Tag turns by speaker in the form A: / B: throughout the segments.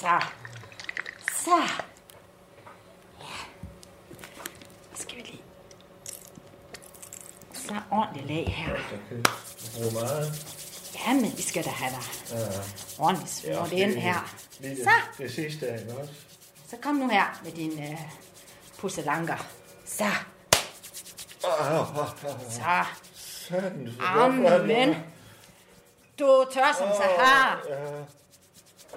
A: Så. Så. Ja. Nu skal vi lige... Så ordentligt lag her.
B: bruge meget.
A: Jamen, vi skal da have dig ordentligt smurt ind her.
B: Lige det,
A: Så,
B: det sidste af ikke også.
A: så kom nu her med din øh, pusselanker. Så,
B: Åh, åh, åh, åh.
A: så.
B: Sådan. så godt var det.
A: Amen. Du er tør som Sahara.
B: Ja.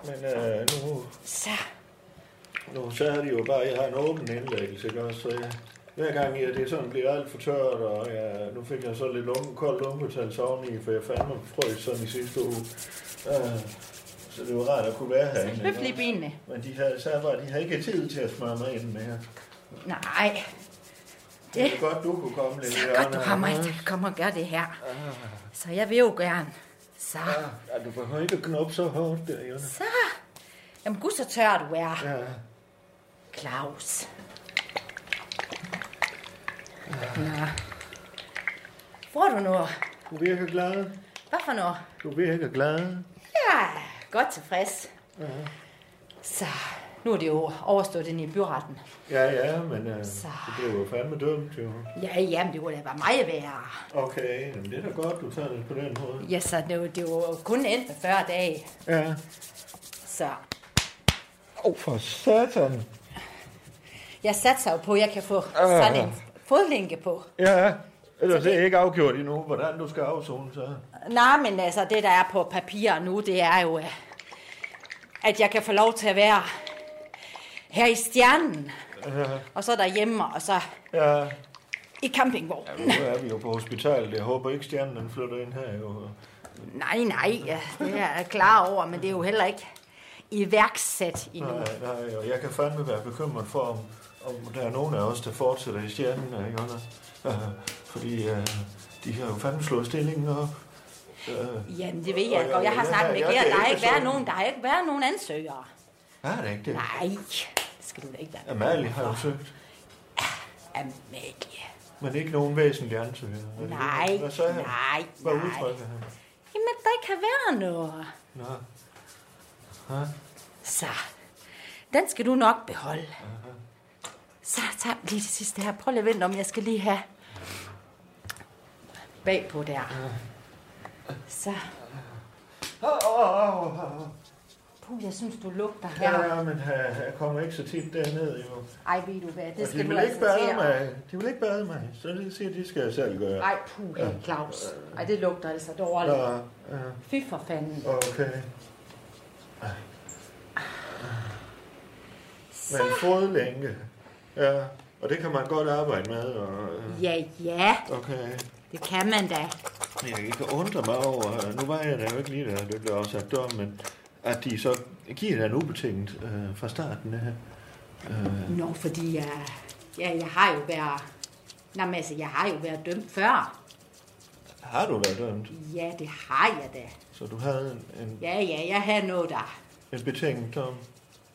B: Men øh, nu,
A: Så.
B: nu så er det jo bare, jeg har en åben indlæggelse, ikke også? Så jeg, hver gang jeg, det er sådan, bliver alt for tørt, og jeg, nu fik jeg så lidt lunge, kold lungetal oveni, for jeg fandme frøs sådan i sidste uge. Øh, så det var rart at kunne være herinde.
A: Løft
B: ikke
A: lige
B: også?
A: benene.
B: Men de her server, de har ikke tid til at smøre mig ind mere.
A: Nej.
B: Det er godt, du kunne komme lidt.
A: Så
B: i
A: godt, du
B: hjørnet.
A: kommer kom og gør det her. Så jeg vil jo gerne. Så.
B: Ah. Ja, du behøver ikke at knuppe så hårdt der, Jonna.
A: Så. Jamen gud, så tør du er,
B: Ja.
A: Claus. Nå. Får du noget?
B: Du virker glad.
A: Hvad for noget?
B: Du virker glad.
A: Ja, godt tilfreds. Så nu er det jo overstået ind i byretten.
B: Ja, ja, men øh,
A: Så.
B: det blev jo fandme dømt, jo.
A: Ja, jamen det kunne da være meget værre.
B: Okay, jamen, det er da godt, du tager det på den måde.
A: Ja, så det, var- det var kun endt med 40 dage.
B: Ja.
A: Så
B: Åh, oh, for satan.
A: jeg satser jo på, at jeg kan få sådan en fodlænke på.
B: Ja, ellers er jeg ikke afgjort endnu, hvordan du skal afzone så.
A: Nej, men altså, det der er på papir nu, det er jo, øh, at jeg kan få lov til at være her i stjernen,
B: Ja,
A: og så derhjemme, og så
B: ja.
A: i campingvognen.
B: Nu er vi jo på hospitalet. Jeg håber ikke, stjernen den flytter ind her, jo.
A: Nej, nej, ja, det er jeg klar over, men det er jo heller ikke iværksat endnu.
B: Nej, nej, og jeg kan fandme være bekymret for, om, om der er nogen af os, der fortsætter i stjernen, øh, ikke Anders? Øh, fordi øh, de har jo fandme slået stillingen op. Øh,
A: Jamen, det ved jeg godt. Jeg har snakket med Gert. Der har ikke været nogen, der har ikke været nogen ansøgere.
B: er det ikke det?
A: Nej, det skal du da ikke være.
B: Amalie har jo søgt,
A: Amalie.
B: men ikke nogen væsentlig ansøger. Er det det?
A: Nej,
B: Hvad sagde han?
A: nej,
B: Hvad
A: nej.
B: udtrykker han?
A: Jamen, der kan være noget.
B: Nå,
A: Så, den skal du nok beholde. Så tager vi lige det sidste her. Prøv lige at vente om, jeg skal lige have bagpå der. Så,
B: åh, åh, åh, åh.
A: puh, jeg synes, du lugter her.
B: Ja, men øh, jeg kommer ikke så tit derned, jo.
A: Ej, ved du hvad, det
B: Og de
A: skal du
B: vil ikke
A: altså
B: bade
A: til. at-
B: mig. De vil ikke bade mig, så det siger, de skal jeg selv gøre.
A: Ej, puh, Claus. Ej, det lugter altså dårligt.
B: Nå, øh.
A: Fy for fanden.
B: Okay. Men en fodlænke. Ja, og det kan man godt arbejde med. Og, øh,
A: Ja, ja,
B: okay.
A: det kan man da.
B: Jeg kan undre mig over, øh, nu var jeg der jo ikke lige der, det blev afsat dør, men at de så giver den ubetinget øh, fra starten af.
A: Nå, fordi jeg, ja, jeg har jo været... Nå, men altså, jeg har jo været dømt før.
B: Har du været dømt?
A: Ja, det har jeg da.
B: Så du havde en, en,
A: Ja, ja, jeg havde noget der.
B: en betinget dom?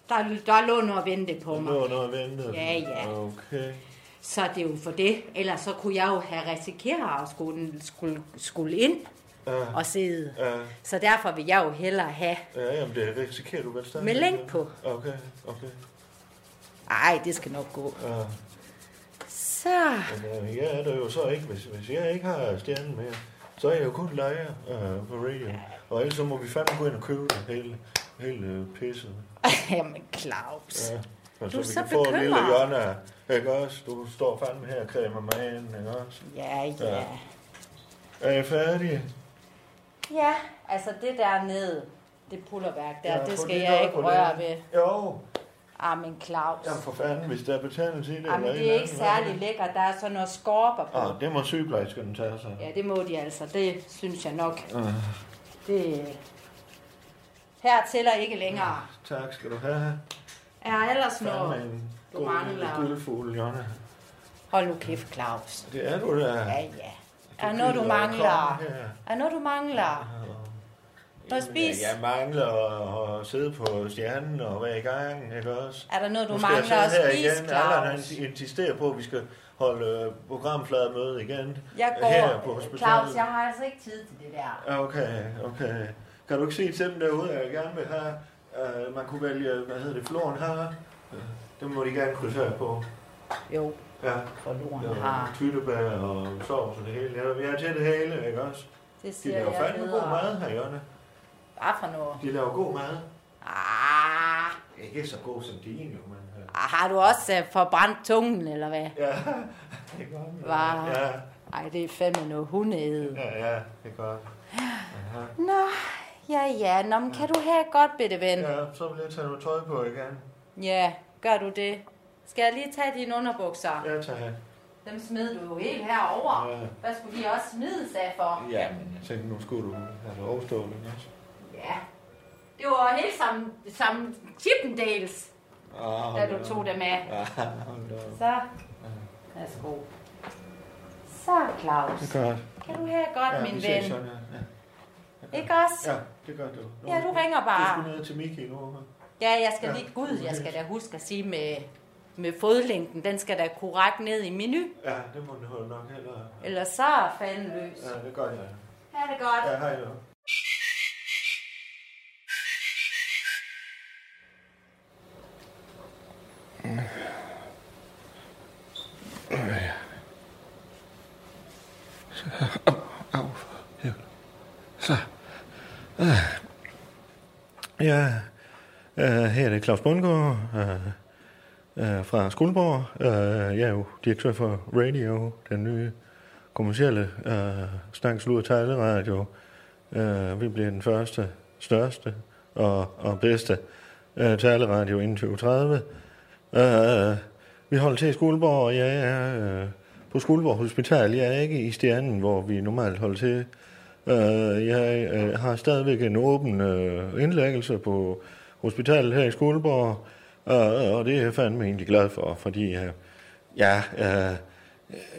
A: Der, der lå noget at vente på
B: Det
A: mig.
B: var noget ventet?
A: Ja, ja.
B: Okay.
A: Så det er jo for det. Ellers så kunne jeg jo have risikeret at skulle, skulle, skulle ind
B: Ja.
A: og sidde.
B: Ja,
A: Så derfor vil jeg jo hellere have...
B: ja jamen det risikerer du vel stadig.
A: Med lænk på.
B: Okay, okay.
A: Ej, det skal nok gå.
B: Ja.
A: Så...
B: Men øh, jeg er der jo så ikke, hvis, hvis jeg ikke har stjernen mere, så er jeg jo kun lejer øh, på radio. Og ellers så må vi fandme gå ind og købe det hele, hele øh, pisset.
A: Jamen, Claus.
B: Ja. Og
A: Du er
B: så vi
A: så
B: kan få en lille
A: bekymret.
B: hjørne af, ikke også? Du står fandme her og kræmer mig ind, ikke også?
A: Ja, ja.
B: Ja. Er jeg færdig?
A: Ja, altså det der nede, det pullerværk der,
B: Ja,
A: det
B: prøv
A: skal
B: lige
A: jeg
B: at
A: ikke
B: på det.
A: røre ved.
B: Jo,
A: Ah, men Claus.
B: Jamen for fanden, hvis der er betændelse i det.
A: Jamen,
B: eller
A: det
B: en
A: er ikke
B: anden vej.
A: særlig lækkert. Der er sådan noget skorper på.
B: Ah, det må sygeplejerskerne tage sig. Ah,
A: Ja, det må de altså. Det synes jeg nok. Det... Her tæller ikke længere.
B: Tak skal du have.
A: Er ellers
B: Fandme
A: noget...
B: en
A: du
B: god
A: mangler.
B: guldfugl, Jonna.
A: Hold nu kæft, Claus.
B: Det er du da.
A: Ja, ja. Er noget, du
B: gider at
A: mangler?
B: komme her.
A: Er noget, du mangler? Noget
B: Jamen,
A: spis?
B: Jeg mangler at, at sidde på stjernen og være i gang, ikke også?
A: Er der noget, du
B: Nu skal jeg
A: mangler at
B: sidde her
A: spise,
B: igen. Allan,
A: Claus?
B: han insisterer på, at vi skal holde øh, programflademøde igen.
A: Jeg
B: Her
A: går.
B: på hospitalet.
A: Claus, jeg har altså ikke tid til det der.
B: Ja, Okay, okay. Kan du ikke se til dem derude, at jeg gerne vil have? Uh, man kunne vælge, hvad hedder det, floren her. Uh, dem må de gerne krydse her på.
A: Jo,
B: Ja,
A: for
B: der
A: loren
B: er
A: har.
B: tyttebær og sovs og det hele. Ja, vi har til det hele, ikke også?
A: Det
B: De
A: siger
B: laver
A: jeg
B: fandme god
A: bedre.
B: mad her, Jonna.
A: Hvad for noget?
B: De laver god mad.
A: Ah,
B: Ikke så god som din, jo, men... øh,
A: har du også øh, forbrændt tungen, eller hvad?
B: Ja, det er godt.
A: Hva?
B: Ja,
A: Ej, det er fandme noget hundeæde.
B: ja, ja, det er godt. Aha.
A: Nå, ja, ja. Nå, men kan du have et godt, bitte ven? Ja.
B: Ja, så vil jeg tage noget tøj på igen.
A: ja, gør du det. Skal jeg lige tage dine underbukser?
B: Ja, tak.
A: Dem smed du jo helt herover.
B: Ja.
A: Hvad skulle de også smides af for?
B: Ja, men jeg tænkte, nu skulle du have det overstået, ikke også?
A: Ja. Det var helt som, som Chippendales,
B: Ah,
A: da du tog dem af.
B: Ja, Ah, hold da op.
A: Så, værsgo. Så, Claus.
B: Det er godt.
A: Kan du have et godt,
B: Ja,
A: min
B: vi
A: ven?
B: ses sådan, ja. ja.
A: Ikke også?
B: Ja, det gør du. Nå,
A: Ja, du ringer
B: Du
A: bare.
B: skulle ned til Miki nu. hva'?
A: Ja, jeg skal
B: Ja.
A: lige... Gud, jeg skal da huske at sige med, med fodlængden. Den skal da korrekt ned i menu.
B: Ja, det må du holde nok heller.
A: Eller så er fanden løs.
B: Ja, det gør jeg.
A: Ha' det godt.
B: Ja, hej du.
C: Au, ja. Så. Ah.
B: Ja, øh, her er det Claus Bundgaard øh, øh, fra Skuldborg. Øh, jeg er jo direktør for Radio, den nye kommercielle øh, snakkes ud radio. Øh, vi bliver den første, største og, og bedste øh, taleradio inden 2030. Øh, vi holder til i Skuldborg, og jeg er øh, på Skuldborg Hospital. Jeg er ikke i Stjernen, hvor vi normalt holder til. Øh, jeg øh, har stadigvæk en åben øh, indlæggelse på hospitalet her i Skuldborg, øh, og det er jeg fandme egentlig glad for, fordi øh, ja, øh,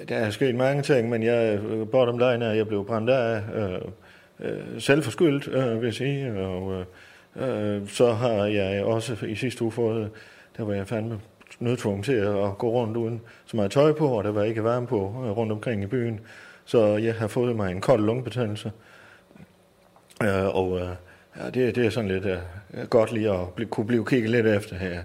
B: der er sket mange ting, men jeg, øh, bottom line er, at jeg blev brændt af øh, øh, selvforskyldt, øh, vil jeg sige, og øh, øh, så har jeg også i sidste uge fået, der var jeg fandme nødtvunget til at gå rundt uden så meget tøj på, og der var ikke varme på øh, rundt omkring i byen, så jeg har fået mig en kold lungebetændelse. Øh, og øh, ja, det, det er sådan lidt øh, godt lige at bli, kunne blive kigget lidt efter her.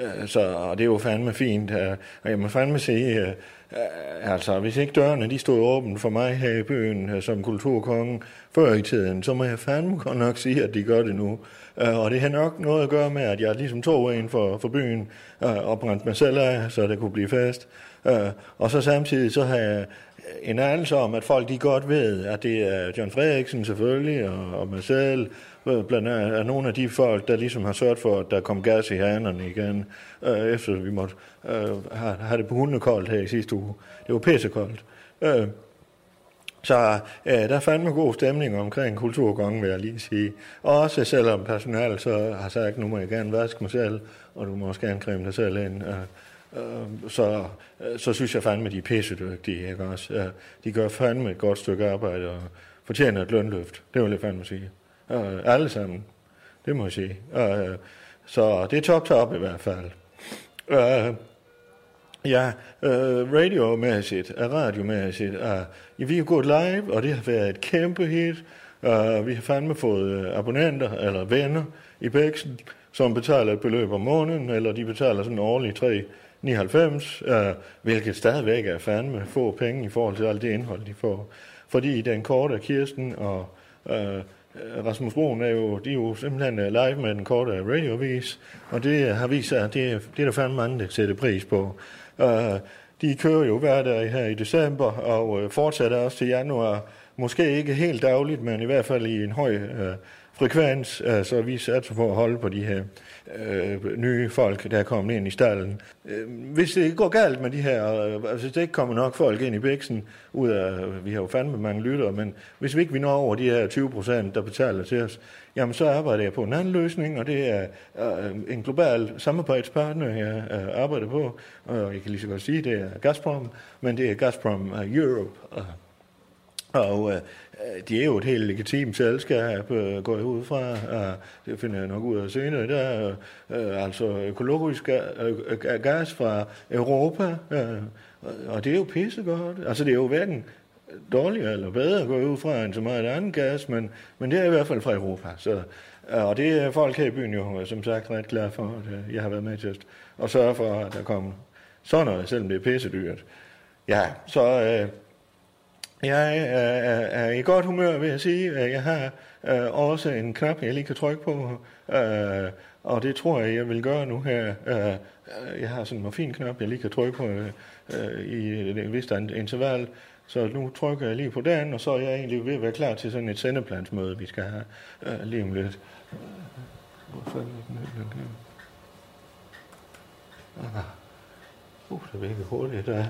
B: Øh, så og det er jo fandme fint. Øh, og jeg må fandme sige, øh, øh, altså hvis ikke dørene de stod åbne for mig her i byen øh, som kulturkongen før i tiden, så må jeg fandme godt nok sige, at de gør det nu. Øh, og det har nok noget at gøre med, at jeg ligesom tog en for, for byen øh, og brændte mig selv af, så det kunne blive fast. Øh, og så samtidig så har jeg en anelse om, at folk de godt ved, at det er John Frederiksen selvfølgelig, og, og mig selv, øh, blandt andet er nogle af de folk, der ligesom har sørget for, at der kom gas i hanerne igen, øh, efter vi måtte øh, have, have det på hundekoldt her i sidste uge. Det var pissekoldt. Øh, så øh, der er fandme god stemning omkring kulturgangen, vil jeg lige sige. Også selvom personalet så har sagt, nu må jeg gerne vaske mig selv, og du må også gerne creme dig selv ind. Øh, øh, så, øh, så synes jeg fandme, de er pissedygtige, ikke også? Øh, de gør fandme et godt stykke arbejde og fortjener et lønløft. Det vil jeg fandme sige. Øh, alle sammen. Det må jeg sige. Øh, så det er top top i hvert fald. Øh, Ja, øh, radiomæssigt, øh, radiomæssigt. Øh, ja, vi har gået live, og det har været et kæmpe hit. Øh, vi har fandme fået øh, abonnenter eller venner i Bæksen, som betaler et beløb om måneden, eller de betaler sådan årligt 3,99, øh, hvilket stadigvæk er fandme få penge i forhold til alt det indhold, de får. Fordi den korte Kirsten og øh, Rasmus Broen er jo, de er jo simpelthen øh, live med den korte radiovis, og det øh, har vist sig, at det, er- det er der fandme mange, der sætter pris på. Øh, de kører jo hver dag her i december, og øh, fortsætter også til januar Måske ikke helt dagligt, men i hvert fald i en høj øh, frekvens, øh, så vi satser på at holde på de her øh, nye folk, der er kommet ind i stallen. Øh, hvis det ikke går galt med de her, øh, altså hvis der ikke kommer nok folk ind i bæksen, ud af, øh, vi har jo fandme mange lyttere, men hvis vi ikke vi når over de her 20 procent, der betaler til os, jamen så arbejder jeg på en anden løsning, og det er øh, en global samarbejdspartner, jeg øh, arbejder på, og jeg kan lige så godt sige, det er Gazprom, men det er Gazprom øh, Europe, øh, og øh, de er jo et helt legitimt selskab, øh, går jeg ud fra. Øh, det finder jeg nok ud af senere. Der er øh, altså økologisk ga- øh, øh, gas fra Europa, øh, og det er jo pissegodt. Altså det er jo hverken dårligere eller bedre går jeg ud fra end så meget andet gas, men, men det er i hvert fald fra Europa. Så, øh, og det er folk her i byen jo øh, som sagt ret glade for, at øh, jeg har været med til at- at sørge for, at der kommer sådan noget, selvom det er pissedyrt. Ja, så... Øh, jeg øh, er, er i godt humør, vil jeg sige. Jeg har øh, også en knap, jeg lige kan trykke på, øh, og det tror jeg, jeg vil gøre nu her. Øh, jeg har sådan en morfinknap, jeg lige kan trykke på øh, øh, i et vist an- interval, så nu trykker jeg lige på den, og så er jeg egentlig ved at være klar til sådan et sendeplansmøde, vi skal have øh, lige om lidt. Hvor fanden er den her? Den her? Ah. Uh, det virker hurtigt. Der.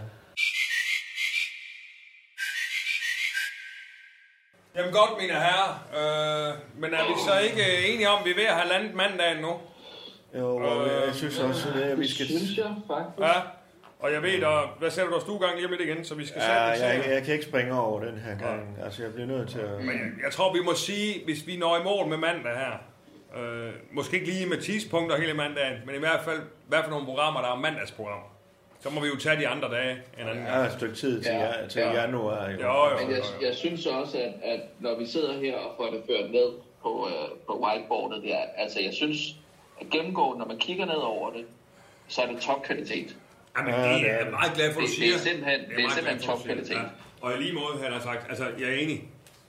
D: Jamen godt, mine herrer. Øh, men er vi så ikke øh, enige om, at vi er ved at have landet mandagen nu?
B: Jo, og jeg synes også, at vi skal...
E: synes jeg faktisk.
D: Ja. Og jeg ved, og hvad sætter du af stuegang lige om lidt igen, så vi skal
B: Ja,
D: sætte os
B: Øh, jeg,
D: her.
B: jeg kan ikke springe over den her gang. Altså, jeg bliver nødt til at...
D: Men jeg- jeg tror, vi må sige, hvis vi når i mål med mandag her, øh, måske ikke lige med tidspunkter hele mandagen, men i hvert fald, hvad for nogle programmer, der er mandagsprogrammer. Så må vi jo tage de andre dage en anden
B: Jeg har
D: gang.
B: et stykke tid til,
E: Ja,
B: ja, til
E: ja.
B: januar. Jo.
D: Jo, jo.
E: Men jeg, jeg synes også, at, at når vi sidder her og får det ført ned på, øh, på whiteboardet, der, altså jeg synes, at gennemgående, når man kigger ned over det, så er det topkvalitet.
D: Jamen,
B: Ja,
D: det
B: det
D: er
B: er
D: jeg
B: det.
D: meget glad for, at du
E: Det-
D: siger.
E: det er simpelthen-
D: Jeg
E: det er
D: meget
E: simpelthen
D: glad for, at du siger.
E: topkvalitet.
D: Ja. Og i lige måde, han har sagt, altså, jeg er enig.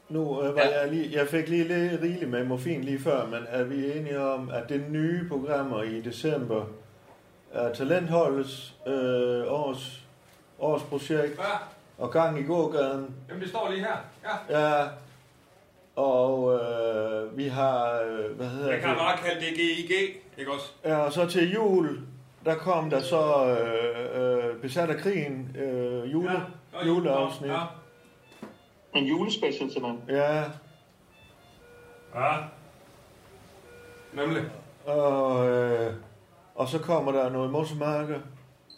B: Nu øh, var
E: Ja.
B: jeg lige... Jeg fik lige lidt rigeligt med morfin lige før, men er vi enige om, at det nye programmer i december er talentholdets øh, års, års projekt
D: Ja,
B: og gang i gågaden.
D: jamen det står lige her. Ja.
B: Ja, og øh, vi har... øh, Hvad hedder
D: Jeg kan
B: det?
D: bare kalde det GIG, ikke også?
B: Ja, og så til jul, der kom der så øh, øh, besat af krigen, øh, jule, ja,
D: og
B: juleafsnit.
D: Ja.
B: Ja.
E: En julespecial simpelthen.
B: ja,
D: ja. Nemlig.
B: og, øh, og så kommer der noget mossemarker.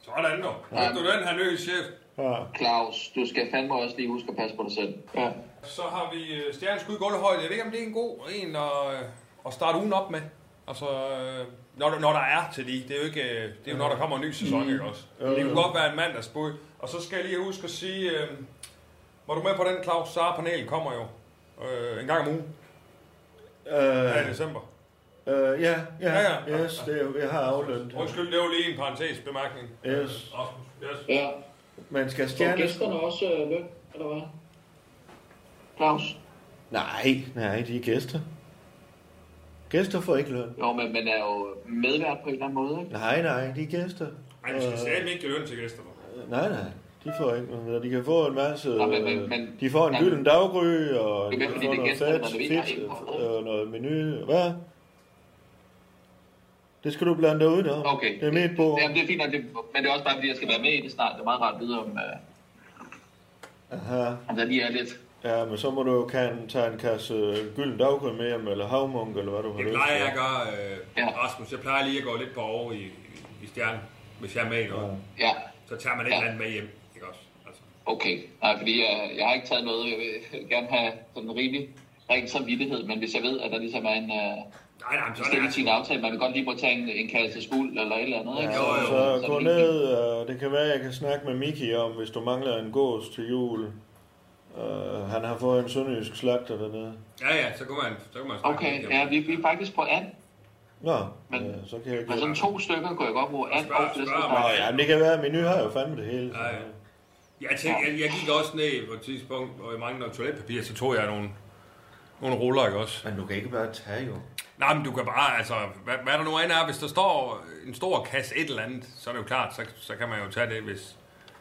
D: Sådan nu. Ja. du den her nye chef.
B: Ja.
E: Claus, du skal fandme også lige huske at passe på dig selv. Ja.
D: Så har vi øh, stjernens skud i gulvhøjde. Jeg ved ikke, om det er en god en at, øh, at starte ugen op med. Altså, øh, når, der- når der er til de. Det er jo ikke, øh, det er jo, når der kommer en ny sæson, ikke også? Det kunne godt være en mandagsbud. Og så skal jeg lige huske at sige, øh, var du med på den, Claus? Sara-panelet kommer jo øh, en gang om ugen her i
B: Øh,
D: december.
B: øh, ja, ja,
D: Ja, ja.
B: yes, det er, jeg har aflønt.
D: Undskyld, det var lige en parentes bemærkning.
B: Yes.
D: Rasmus, yes.
E: ja.
B: Man skal
E: Får
B: stjerne...
E: gæsterne også øh, løn, eller hvad? Claus?
B: Nej, nej, de er gæster. Gæster får ikke løn.
E: Jo, men man er jo medvært på en eller anden måde, ikke?
B: Nej, nej, de er gæster.
D: Ej, vi skal sætte ikke give løn til gæsterne.
B: Øh, nej, nej, de får ikke løn. De kan få en masse...
E: Nå, men- men-
B: øh,
E: men-
B: de får en
E: Ja.
B: gylden daggry, og
E: Det er
B: de
E: mere, fordi
B: får
E: det er
B: noget
E: gæsterne,
B: fedt,
E: der leverer
B: fedt,
E: indholdet.
B: øh, og noget menu. Hvad? Det skal du blande dig ud om.
E: Okay.
B: Det er mit bord.
E: Jamen, det er fint nok, det, men det er også bare, fordi jeg skal være med i det snart. Det er meget rart at vide, om, øh,
B: Aha.
E: om der lige er lidt.
B: Ja, men så må du jo kan, tage en kasse øh, gylden daggry med hjem, eller havmunk, eller hvad du har
D: Det
B: lyst
D: plejer jeg
B: til.
D: at gøre, øh,
E: Ja.
D: Rasmus. Jeg plejer lige at gå lidt på over i, i- i stjernen, hvis jeg er med i noget.
E: Ja,
D: Så tager man et
E: Ja.
D: eller andet med hjem, ikke også? Altså.
E: okay. Nej, fordi jeg, jeg har ikke taget noget. Jeg vil gerne have sådan en rimelig ren samvittighed, men hvis jeg ved, at der ligesom er en øh,
D: Nej, nej, men sådan er
E: bestemt
D: det.
E: sin aftale, man vil godt lige prøve at tage en, en kasse skuld eller et eller andet, ikke?
B: Ja,
D: Jo, jo.
E: er
B: så
E: det
B: gå
E: helt fint.
B: ned, og det kan være, jeg kan snakke med Miki om, hvis du mangler en gås til jul. Uh, han har fået en sønderjysk slagter dernede.
D: Ja, ja, så kan man, så kan man snakke
E: Okay,
D: lidt om
E: ja,
D: det.
E: vi, vi er faktisk på and.
B: Nå,
E: Men- Altså,
B: ja, så kan jeg ikke...
E: Men sådan to stykker kunne jeg godt bruge and
D: Spørg-
E: og flæskesteg.
D: spørg
B: Nå,
D: mig.
B: ja, men det kan være, at menu har jo fandme det hele.
D: Ja, ja. Jeg, tænkte, jeg, jeg gik også ned på et tidspunkt, og jeg manglede noget toiletpapir, så tog jeg nogle, nogle ruller, ikke også?
B: Men du kan ikke bare tage jo.
D: Nej, men du kan bare, altså, hvad, hvad der nu end er, hvis der står en stor kasse et eller andet, så er det jo klart, så, så kan man jo tage det, hvis,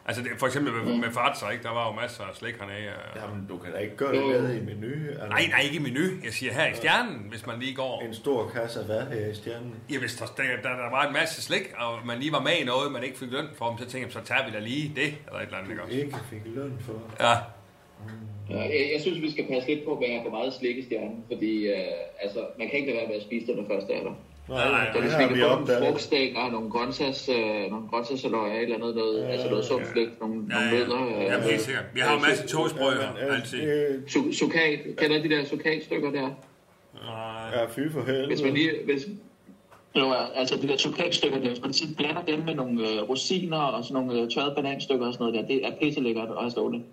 D: Altså det, for eksempel med, med fartser, ikke? der var jo masser af slik hernede. og-
B: Jamen, du kan da ikke gøre det med i menu. Altså,
D: Nej, nej, ikke i menu. Jeg siger her i stjernen, hvis man lige går.
B: En stor kasse af hvad her i stjernen?
D: Ja, hvis der, der, der, der var en masse slik, og man lige var med i noget, man ikke fik løn for, så tænkte jeg, så tager vi da lige det, eller et eller andet, ikke også?
B: Ikke fik løn for.
D: Ja,
E: Ja, jeg, jeg synes, vi skal passe lidt på, hvad jeg har for meget slik i stjernen, fordi øh, altså, man kan ikke lade være med at spise det, når først det er der.
B: Nej,
D: nej,
E: Ja,
B: det
E: hvis
B: har
E: vi
B: vi
E: kan få nogle
B: opdaget.
E: frugtstænger, nogle grøntsags, øh, nogle grøntsagsaløjer, et eller andet, noget, altså noget sundt flæk, nogle,
D: ja,
E: nogle
D: ja.
E: nødder. Øh,
D: Jamen, helt sikkert. Vi har en masse togsprøjter,
B: Jamen, øh,
D: altid.
B: øh,
E: su- sukat, kender de der sukatstykker der?
D: Nej.
B: Ja, fy for
E: Hvis man
B: helvede.
E: lige, hvis, jo, altså de der chokoladstykker der, hvis man tit blander dem med nogle øh, rosiner og sådan nogle øh, tørrede bananstykker og sådan noget der, det er pisse lækkert at have stående.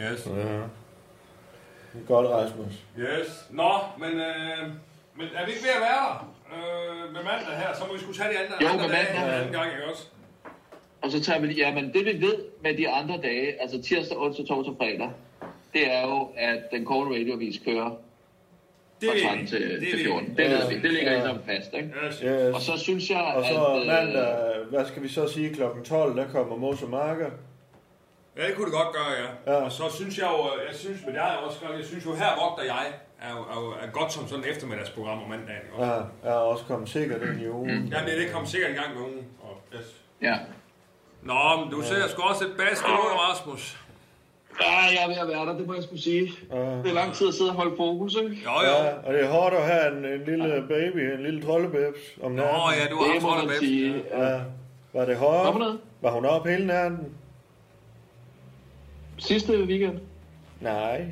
D: Yes.
B: Ja. Godt, Rasmus.
D: Yes. Nå, men, øh, men er vi ikke ved at være der? Øh, med mandag her, så må vi skulle tage de andre,
E: Jo,
D: andre
E: med
D: dage
E: mandag.
D: en anden gang, ikke også?
E: Og så tager vi lige, ja, men det vi ved med de andre dage, altså tirsdag, onsdag, torsdag, fredag, det er jo, at den korte radiovis kører
D: Det
E: fra
D: ved
E: 13
D: vi.
E: til,
D: Det
E: til
D: ved
E: 14.
D: vi.
E: Det ved vi. Det ligger
B: Ja.
E: ligesom fast, ikke?
D: Yes.
B: Yes.
E: Og så synes jeg,
B: Og så
E: at... øh,
B: mandag, hvad skal vi så sige, klokken 12, der kommer Mos og Marker.
D: Ja, det kunne det godt gøre, ja.
B: Ja.
D: Og så synes jeg jo, øh, jeg synes, men det har jeg også skrevet, jeg synes jo, her vogter jeg, er, jo, er, jo, er godt som sådan et eftermiddagsprogram om mandagen, ikke også?
B: Ja, er også kommet sikkert ind i ugen.
D: Mm. Ja, det, det kom sikkert en gang med ugen. Og, yes.
E: ja.
D: Nå, men du ser sgu også et basket ud, Rasmus.
E: ja, jeg er ved at være der, det må jeg skulle sige.
B: Ah.
E: Det er lang tid at sidde og holde fokus, ikke?
D: Jo, jo.
B: Ja, og det er hårdt at have en, en lille baby, en lille troldebæbs om natten.
D: Nå, ja, du har
E: Det
D: haft
E: må
D: hånd
E: man
D: med.
E: sige. Ja.
B: Ja. Var det
E: Hvad for
B: hårdt?
E: noget?
B: Var hun op hele natten?
E: Sidste weekend.
B: Nej.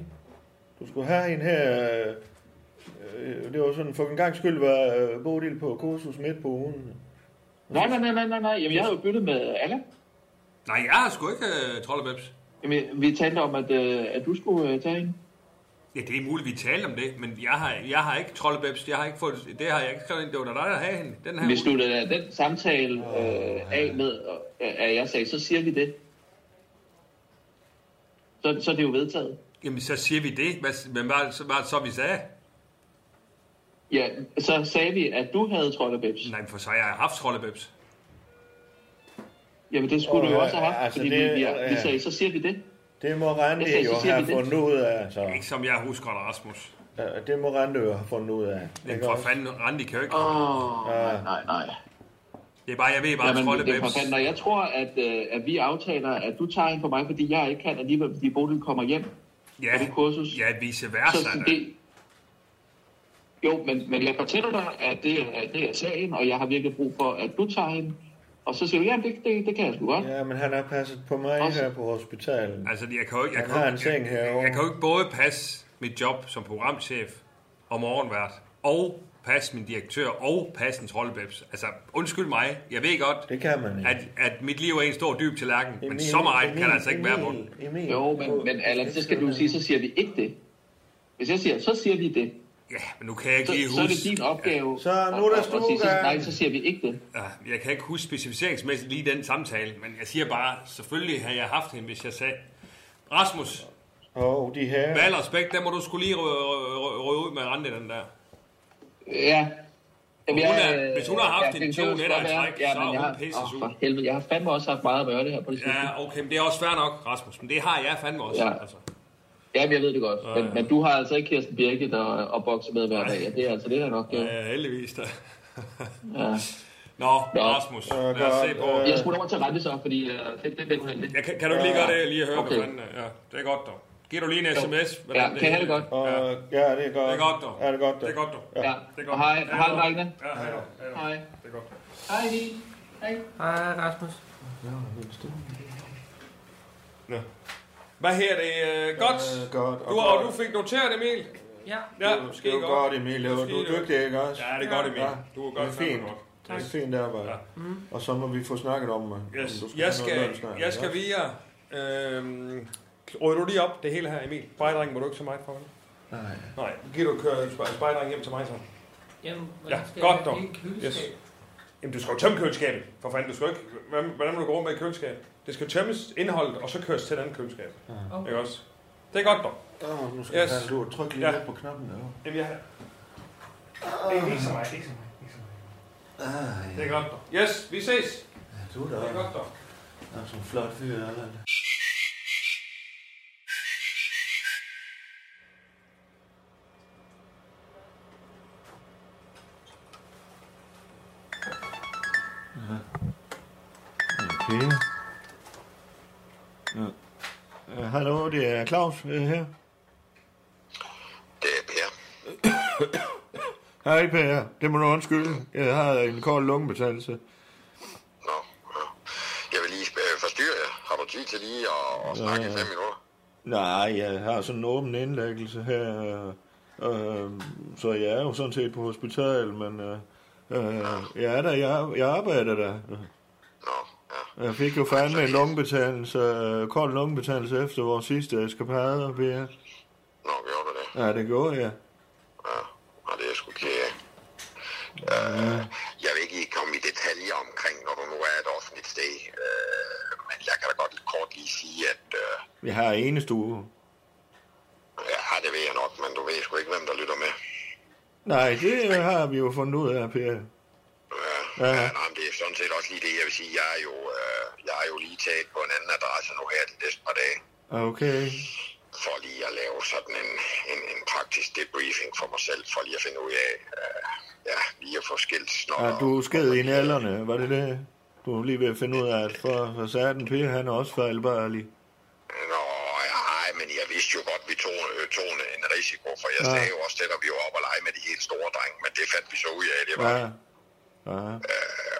B: Du skulle have en her... øh, Øh, det var sådan, for en gang skyld var øh, Bodil på kursus midt på ugen.
E: Nej, nej, nej, nej, nej, nej. Jamen, jeg har jo byttet med Allan.
D: Nej, jeg har sgu ikke uh, troldebæbs.
E: Jamen, vi talte om, at, øh, at du skulle øh, tage en.
D: Ja, det er muligt, vi taler om det, men jeg har, jeg har ikke troldebæbs. Jeg har ikke fået, det har jeg ikke skrevet ind. Det var da dig, der havde hende. Den her
E: Vi
D: uge.
E: slutter den samtale
B: Ah,
E: øh, af med, øh, at jeg sagde, så siger vi det. Så, så er det jo vedtaget.
D: Jamen, så siger vi det. Hvad, men hvad, så- hvad så, vi sagde?
E: Ja, så sagde vi, at du havde troldebæbs.
D: Nej, for så har jeg haft troldebæbs.
E: Jamen, det skulle oh, du jo
B: Åh,
E: også have haft,
B: altså,
E: fordi
B: det-
E: det, vi, vi,
B: ja.
E: vi sagde, så siger vi det.
B: Det må Randi
E: Jeg sagde, så
B: jo
E: siger
B: have
E: vi det.
B: fundet ud af, så.
D: Ikke som jeg husker det, Rasmus.
B: Ja, Det må Randi jo have fundet ud af.
D: Men
B: ikke
D: for
B: også?
D: fanden, Randi kan jo ikke.
E: Åh, oh, nej, nej, nej.
D: Det er bare, jeg ved bare, at
E: Jamen, det er
D: troldebæbs...
E: forbandet, og jeg tror, at, øh, at vi aftaler, at du tager en for mig, fordi jeg ikke kan alligevel, fordi Bodil kommer hjem.
D: Ja,
E: på det kursus.
D: ja, vice
E: Så
D: versa.
E: sådan
D: da.
E: det... Jo, men, men jeg fortæller dig, at det, er- at det er sagen, og jeg har virkelig brug for, at du tager hende. Og så siger du, ja, det, det, det kan jeg sgu godt.
B: Ja, men han har passet på mig
E: Også-
B: her på hospitalet.
D: Altså, jeg kan jo ikke, jeg
B: Han
D: kan jo
B: har
D: ikke-
B: en seng herovre.
D: Jeg kan jo ikke både passe mit job som programchef og morgenvært, og passe min direktør, og passe en troldebæbs. Altså, undskyld mig, jeg ved godt,
B: Det kan man ikke.
D: at, at mit liv er en stor dyb tallerken, men så meget kan der altså ikke være på den.
B: Emil,
E: Jo, men, men Allan, så skal du sige, så siger vi ikke det. Hvis jeg siger, så siger vi det,
D: Ja, men nu kan jeg ikke
E: så,
D: lige
E: så er det
D: huske...
E: din opgave.
B: Så nu er der
E: at- at- at sige, så,
B: stuegang.
E: nej, så siger vi ikke det.
D: Ja, Jeg kan ikke huske specificeringsmæssigt lige den samtale, men jeg siger bare, selvfølgelig havde jeg haft hende, hvis jeg sagde... Rasmus,
B: Åh, oh, de her.
D: med al respekt, der må du skulle lige rø- rø- rø- røve ud med Randi, den der.
E: Ja. Jamen, øh,
D: Hun er- hvis hun har haft en
E: det
D: to
E: kan jo
D: nætter i
E: godt være.
D: træk,
E: ja,
D: så
E: men
D: er
E: jeg
D: hun
E: har-
D: pisse
E: åh,
D: sur.
E: for helvede, jeg har fandme også haft meget at gøre det her på det sidste. Ja.
D: Ja, okay, men det er også fair nok, Rasmus, men det har jeg fandme også.
E: Ja.
D: Altså.
E: Jamen, jeg ved det godt.
D: ja.
E: Men, men du har altså ikke Kirsten Birgit og, og bokse med hver dag. og Det er altså det, der nok. Ja.
D: Ja, heldigvis da.
E: Ja.
D: Nå, Rasmus, lad os se på...
E: Jeg skulle over til Randi så, fordi øh, det, det, det er uheldigt.
D: Ja, kan, kan du ikke lige gøre det, lige høre, okay.
E: Okay.
D: hvad fanden... er? Ja, det er godt, dog. Giv du lige en sms. hvordan
E: Ja, kan jeg have det godt?
B: Og, ja, det er godt.
D: Det er godt, dog.
B: Ja, det er godt, dog.
D: Det er godt, dog.
E: Ja.
D: Det er
E: Og
D: godt.
E: hej,
D: Ja,
E: hej,
D: dog.
E: drengene.
D: Ja, hej, dog. Ja, dog.
E: Hej.
D: Det er godt.
E: Hej, Emil. Hej.
F: Hej, Rasmus.
D: Nå. Hvad her det? Øh, godt.
B: Øh, godt.
D: Du, og du fik noteret, Emil.
F: Ja,
D: Ja,
B: Det
D: måske
B: er godt, Emil. Det var- Du er dygtig, ikke også?
D: Ja, det er godt, Emil.
B: Ja.
D: Du er
B: Det er
D: godt fandme
B: fint.
D: godt.
B: Det er fint arbejde.
D: Ja.
B: Mm. Og så må vi få snakket om, om
D: Yes.
B: du
D: Jeg
B: have noget
D: skal,
B: løn snart,
D: jeg skal
B: ikke?
D: videre. Øhm, rydder du lige op det hele her, Emil? Spejdringen må du ikke så meget for, vel?
B: Nej.
D: Nej, giver du køre spe- spejdringen hjem til mig så?
F: jamen,
D: Ja,
F: hvordan skal
D: godt
F: jeg
D: dog.
F: have et køleskab?
D: Jamen, du skal jo tømme køleskabet, for fanden. Du skal jo ikke, hvordan, hvordan må du gå rundt med et køleskab? Det skal tømmes indholdet, og så køres til et andet køleskab.
F: Okay.
D: Ikke også? Det er godt dog.
B: Åh, nu skal
D: Yes.
B: yes. du trykke lige
D: Ja.
B: ja. ned på knappen. Eller?
D: Jamen, jeg... Det er ikke så meget, det er ikke så meget. Det er godt dog. Yes, vi ses.
B: Ah, Du er
D: Det
B: der.
D: er godt dog.
B: Altså, en flot fyr, Allan. Okay. Ja. Øh, Hallo, det er Claus øh, her.
G: Det er Per.
B: Hej Per, det må du undskylde. Jeg har en kold lungebetændelse.
G: Nå, ja. jeg vil lige øh, forstyrre jer. Har du tid til lige at, at snakke i fem minutter?
B: Nej, jeg har sådan en åben indlæggelse her. øh, Øh, så jeg er jo sådan set på hospital, men øh, øh, jeg er der, jeg, jeg arbejder der.
G: Nå, ja.
B: Jeg fik jo fandme en lungebetændelse, øh, kold lungebetændelse efter vores sidste eskapade, Per.
G: Nå, gjorde du det?
B: Ja, det gjorde jeg.
G: Ja, og det er sgu kære. Øh, jeg vil ikke komme i detaljer omkring, når du nu er et offentligt sted. Øh, men jeg kan da godt kort lige sige, at øh,
B: Jeg har enestue.
G: ja, det ved jeg nok, men du ved sgu ikke, hvem der lytter med.
B: Nej, det har vi jo fundet ud af, Per.
G: Ja,
B: Ja.
G: ja. ja nej, men det er sådan set også lige det, jeg vil sige. Jeg er jo, øh, jeg er jo lige taget på en anden adresse nu her de næste par dage.
B: Okay.
G: for lige at lave sådan en, en, en praktisk debriefing for mig selv, for lige at finde ud af, øh, ja, lige at få skilt snor.
B: Ja, du er sked i nælderne, var det det? Du er lige ved at finde ud af, at for, for satan Per, han er også fejlbarlig.
G: Nå, nej, men jeg vidste jo godt, vi tog, øh, tog en, en risiko, for jeg
B: Ja.
G: ja. sagde jo også, det der vi var oppe og lege med de helt store drenge, men det fandt vi så ud af, det var. Ja.
B: Ja. Ja,
G: Øh,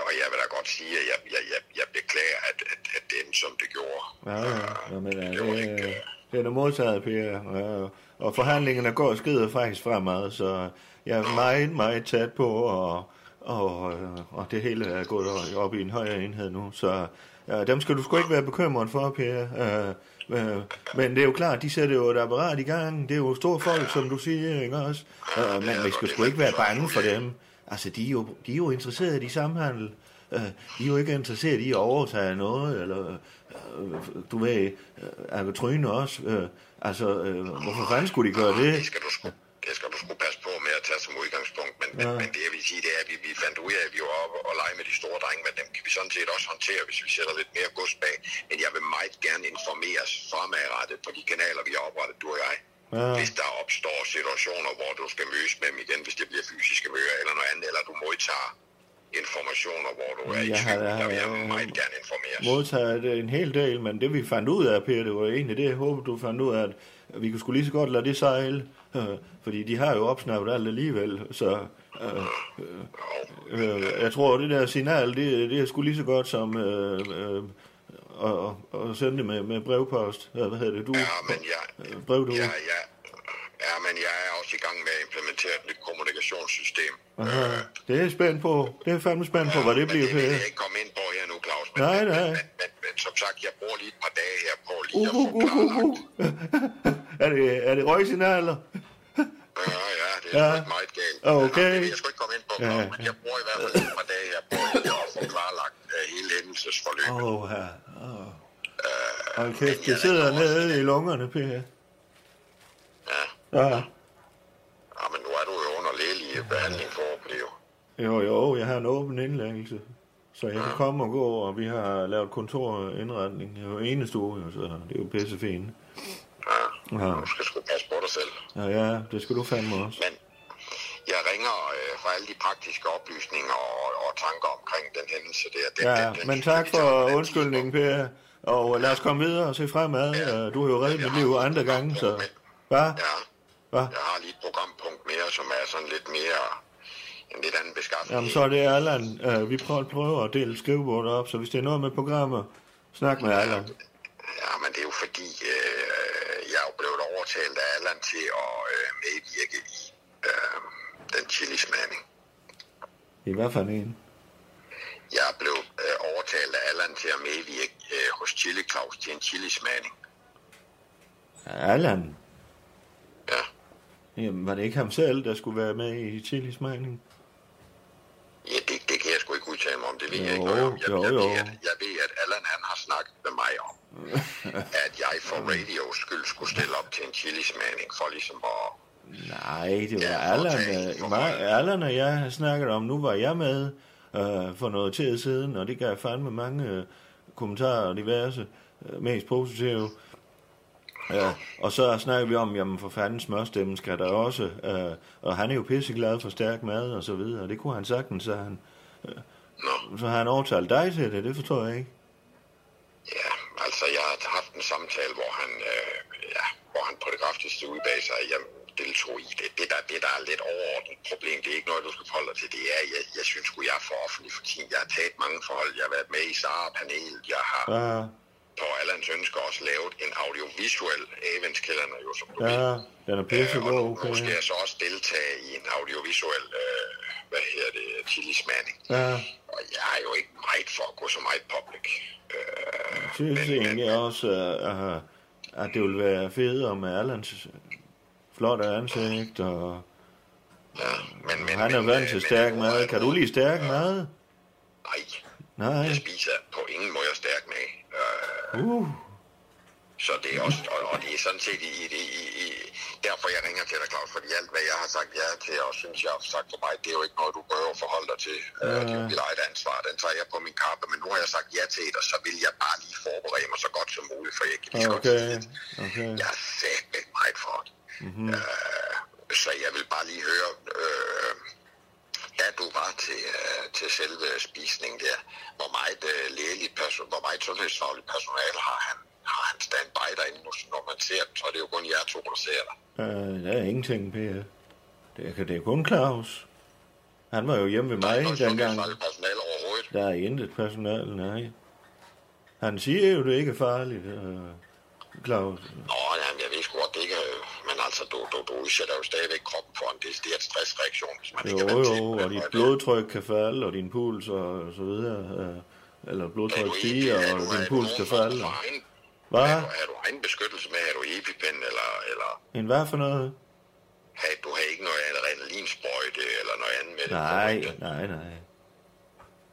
G: og jeg vil da godt sige, at jeg, jeg, jeg, jeg beklager, at, at, at dem, som det gjorde,
B: ja, ja. Nå, men, ja
G: det var
B: det,
G: ikke...
B: er-
G: Øh,
B: det er det modtaget, Per. Ja. Og forhandlingerne går skridt faktisk fremad, så jeg er meget, meget tæt på, og, og, øh, og det hele er gået op i en højere enhed nu. Så ja, dem skal du sgu ikke være bekymret for, Per. Øh, øh, men det er jo klart, de sætter jo et apparat i gang. Det er jo store folk, som du siger, ikke også? Øh, men vi skal sgu ikke være bange for dem. Altså, de er jo, de er jo interesserede i samhandel. Øh, de er jo ikke interesserede i at overtage noget, eller øh, du ved, øh, Agatryne også. Øh, altså, øh, hvorfor fanden skulle de gøre
G: det
B: det?
G: skal du sgu, det skal du sgu passe på med at tage som udgangspunkt, men, ja. men det jeg vil sige, det er, at vi, vi fandt ud af, at vi var oppe og lege med de store drenge, men dem kan vi sådan set også håndtere, hvis vi sætter lidt mere gods bag. Men jeg vil meget gerne informeres fremadrettet på de kanaler, vi har oprettet, du og jeg. Ja. Hvis der opstår situationer, hvor du skal mødes med dem igen, hvis det bliver fysiske møder eller noget andet, eller du modtager informationer, hvor du er i
B: Jeg har-
G: tvivl, der vil jeg
B: jeg-
G: meget gerne informeres.
B: Modtaget øh, en hel del, men det vi fandt ud af, Per, det var egentlig det, jeg håber, du fandt ud af, at vi kunne sgu lige så godt lade det sejle, øh, fordi de har jo opsnappet alt alligevel, så... Øh, øh, Øh, jeg tror, det der signal, det, det er sgu lige så godt som øh, øh, at, at sende det med, med brevpost. Øh, Hvad hedder det? Du,
G: Ja, men jeg,
B: øh, brev, du.
G: Ja, ja. ja, men jeg er også i gang med at implementere et nyt kommunikationssystem. Øh,
B: Aha. Det er jeg spændt på. Det er jeg fandme spændt på, hvad det bliver.
G: men det vil jeg
B: Per.
G: ikke komme ind på her nu, Claus. Men,
B: Nej,
G: men,
B: nej.
G: Men, men, men, som sagt, jeg bruger lige et par dage her på lige
B: Uh,
G: at få
B: uh, uh, uh, uh. er, det, er det røgsignaler?
G: klarlagt. Ja, ja, det
B: Ja. Ah,
G: er ja. meget galt.
B: Okay.
G: Men, jeg skal ikke komme ind på,
B: Ja.
G: Claus, men jeg bruger i hvert fald lige et par dage her på lige at få klarlagt uh, hele hændelsesforløbet.
B: Åh, oh, her. Åh. Hold kæft, det sidder nede i lungerne, Per.
G: Ja.
B: Ja.
G: ja, men nu er du jo under lægelig behandling for at blive.
B: Jo, jo, jeg har en åben indlæggelse. Så jeg kan komme og gå, og vi har lavet kontorindretning. Jeg er jo enestue, jo, så det er jo pissefint.
G: Ja.
B: Ja.
G: Du skal sgu passe på dig selv.
B: Ja, ja, det skal du fandme også.
G: Men jeg ringer øh, for alle de praktiske oplysninger og, og tanker omkring den hændelse der. Den,
B: Ja,
G: den, den,
B: men
G: synes jeg,
B: tak
G: vi tager på et
B: for
G: andet
B: undskyldningen,
G: tidspunkt.
B: Per. Og lad os komme videre og se fremad. Øh, Du har jo reddet mit liv andre gange, så... Hvad?
G: Ja,
B: Hvad?
G: jeg har lige et programpunkt mere, som er sådan lidt mere... En lidt anden beskaffenhed.
B: Jamen, så er det Allan. Øh, Vi prøver, prøver at dele skrivebordet op, så hvis det er noget med programmer, snak med Allan.
G: Ja, men det er jo fordi, øh, jeg er jo blevet overtalt af Allan til at øh, medvirke i øh, den chilismagning.
B: I hvert fald en.
G: Jeg er blevet øh, overtalt af Allan til at medvirke øh, hos Chili Claus til en chilismagning.
B: Allan?
G: Ja.
B: Jamen, var det ikke ham selv, der skulle være med i Chilis Mining?
G: Ja, det, det kan jeg sgu ikke udtale mig om. Det ved
B: Jo,
G: jeg ikke noget om. Jeg,
B: jo,
G: jeg,
B: jo.
G: Ved, at, jeg ved, at Allan han har snakket med mig om, at jeg for radios skyld skulle stille op til en chilismagning for ligesom at...
B: Nej, det var
G: Ja,
B: Allan.
G: okay.
B: øh, Mig, Allan og jeg har snakket om, nu var jeg med øh, for noget tid siden, og det gav fandme mange øh, kommentarer og diverse, øh, mest positive. Ja, og så snakker vi om, jamen for fanden smørstemmen skal der også, øh, og han er jo pisseglad for stærk mad og så videre, og det kunne han sagtens, så han,
G: Nå,
B: så har han overtalt dig til det, det forstår jeg ikke.
G: ja, altså jeg har haft en samtale, hvor han, øh, ja, hvor han på det kraftigste udbag sig, at jeg deltog i det. Det der, det der er lidt overordnet problem, det er ikke noget, du skal forholde dig til. Det er, jeg, jeg synes sgu, jeg er for offentlig for tiden. Jeg har taget mange forhold. Jeg har været med i SAR-panelet. Jeg har
B: Ja,
G: på Allans ønsker også lavet en audiovisuel eventskælderne, jo som du ved.
B: ja, den er pissegod,
G: og nu, nu
B: okay.
G: skal jeg så også deltage i en audiovisuel, øh, hvad hedder det, tillidsmanding.
B: Ja,
G: Og jeg er jo ikke meget for at gå så meget public. Øh,
B: synes egentlig også, øh, øh, at det ville være federe med Allans flotte ansigt, og
G: ja, Øh, men, men,
B: han er
G: men,
B: vant
G: øh,
B: til
G: men-
B: stærk mad. Kan du lide stærk mad?
G: Nej,
B: Nej.
G: jeg spiser på ingen måde stærk med. Øh,
B: Uh,
G: Så det er også, og, og det er sådan set i, i, i, i, derfor jeg ringer til dig, Claus, fordi alt, hvad jeg har sagt ja til, og synes, jeg har sagt for mig, det er jo ikke noget, du behøver at forholde dig til. Øh, Det er jo mit eget ansvar, den tager jeg på min kappe, men nu har jeg sagt ja til det, og så vil jeg bare lige forberede mig så godt som muligt, for jeg kan lige så godt sige,
B: okay,
G: at
B: okay.
G: jeg er sætlig meget for det.
B: Mhm.
G: Mm-hmm. Øh, så jeg vil bare lige høre, øh, da du var til, øh, til selve spisningen der, hvor meget øh, lægeligt person, hvor meget sundhedsfagligt personale har han, har han standby derinde, nu, når man ser dem, så er det jo kun jer to, der ser dig.
B: Øh, der er ingenting, Per. Det er, det er kun Claus. Han var jo hjemme ved
G: Der er
B: mig
G: ikke noget
B: dengang.
G: sundhedsfagligt personale overhovedet.
B: Der er intet personal, nej. Han siger jo, det ikke er farligt, øh, Claus.
G: Nå, jamen, jeg ved sgu godt, det ikke, øh, men altså, du, du, du udsætter jo stadigvæk kroppen for en decideret stressreaktion, hvis man ikke er
B: Jo,
G: vant til det øh,
B: jo,
G: på
B: og
G: den
B: dit
G: måde.
B: blodtryk kan falde, og din puls og så videre. Øh, eller
G: Er du
B: blodtryk
G: enig?
B: stiger,
G: Er
B: og
G: du- er
B: din
G: du
B: puls kan
G: nogen form
B: falde.
G: for egen-
B: Hvad?
G: Er du, er du egen beskyttelse med? Er du epipen, eller, eller
B: En hvad for noget?
G: har, du har ikke noget adrenalinsprøjte, eller noget andet med det?
B: Nej, nej, nej.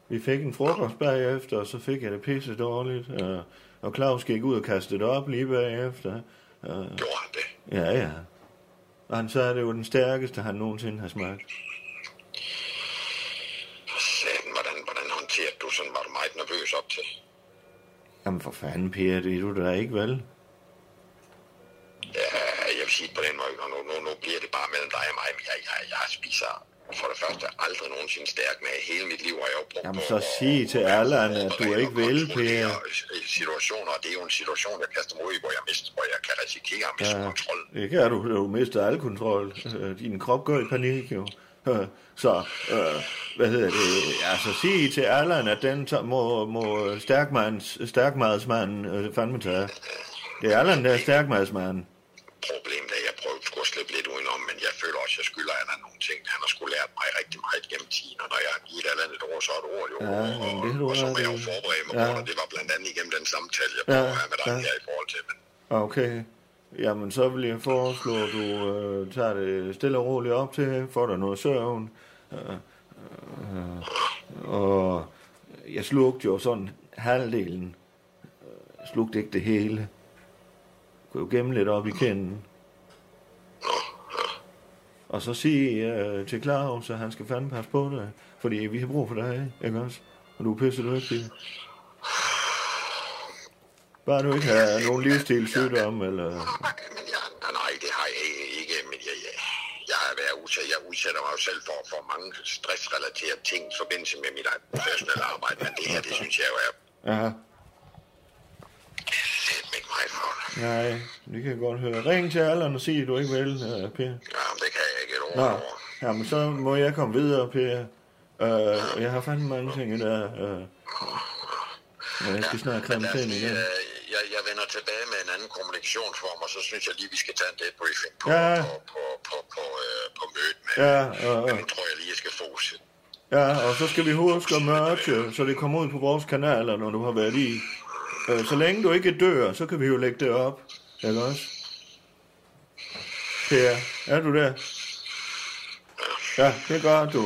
B: Vi fik en frokost bagefter, og så fik jeg det pisse dårligt. Øh, og Claus gik ud og kastede det op lige bagefter. Øh,
G: Gjorde han det?
B: Ja, ja. Og han sagde, at det var den stærkeste, han nogensinde har smagt.
G: For satan, hvordan, hvordan håndterede du sådan? Var du meget nervøs op til?
B: Jamen for fanden, Per, det er du da ikke, vel?
G: Ja, jeg vil sige det på den måde, og nu, nu, nu bliver det bare mellem dig og mig, men jeg, jeg, jeg spiser for det første aldrig nogensinde stærk med. Hele mit liv har jeg jo brugt
B: Jamen,
G: på
B: så
G: at-
B: sig til Allan, at du
G: at
B: ikke vil, Per.
G: kontrollere Situationer, og det er jo en situation, jeg kaster mig ud i, hvor jeg, mister, hvor jeg kan risikere at miste
B: Ja.
G: kontrollen.
B: Ikke er du, du mister al kontrol. Øh, Din krop går i panik, jo. Øh, Så, øh, hvad hedder det? Altså, sig til Allan, at den tager- må, må stærkmands, stærkmadsmanden øh, fandme tage. Det er Allan, der er stærkmadsmanden.
G: problem, da jeg prøvede sgu at slippe lidt udenom, men jeg føler også, at jeg skylder Allan nogle ting. Han har sgu lært mig rigtig meget gennem tiden, og når jeg har givet Allan et ord, så er det ord jo.
B: Ja,
G: og,
B: men det er du
G: og så må
B: ret
G: jeg jo
B: i.
G: forberede mig
B: Ja.
G: ja. på det. Det var blandt andet igennem den samtale, jeg
B: Ja,
G: prøver at have med dig
B: ja.
G: her i forhold til. Men
B: Okay. Jamen, så vil jeg foreslå, at du øh, tager det stille og roligt op til, får dig noget søvn. Øh, øh, og jeg slugte jo sådan halvdelen. Jeg slugte ikke det hele. Kunne jo gemme lidt op i kinden. Og så sige øh, til Claus, at han skal fandme passe på dig, fordi vi har brug for dig, ikke også? Og du er pisse dygtig. Bare du ikke har nogen livsstilssygdom, eller...
G: nej, men jeg, nej, nej, det har jeg ikke- ikke, men jeg, jeg, jeg har været udsat. Jeg udsætter mig jo selv for, for mange stressrelaterede ting i forbindelse med mit eget professionelle arbejde, men det her, det synes jeg jo er
B: Ja,
G: fandme ikke meget for.
B: nej, det kan jeg godt høre. Ring til Allan og sig, at du ikke vil, øh, Per.
G: Ja, det kan jeg ikke et ord
B: Nå,
G: over.
B: jamen så må jeg komme videre, Per. Øh, jeg har fandme mange ting, der... Øh, og jeg skal snart kramme
G: Lad os
B: til
G: lige,
B: igen.
G: øh, jeg, jeg vender tilbage med en anden kommunikationsform, og så synes jeg lige, vi skal tage en debriefing på,
B: Ja.
G: ja. på, på, på, på, øh, på mødet med.
B: Ja, og,
G: Nu tror jeg lige, jeg skal fokusere.
B: ja, og så skal vi huske at mørke, så det kommer ud på vores kanaler, når du har været i. Øh, så længe du ikke dør, så kan vi jo lægge det op. Ikke også? Per, er du der? Ja, det gør du.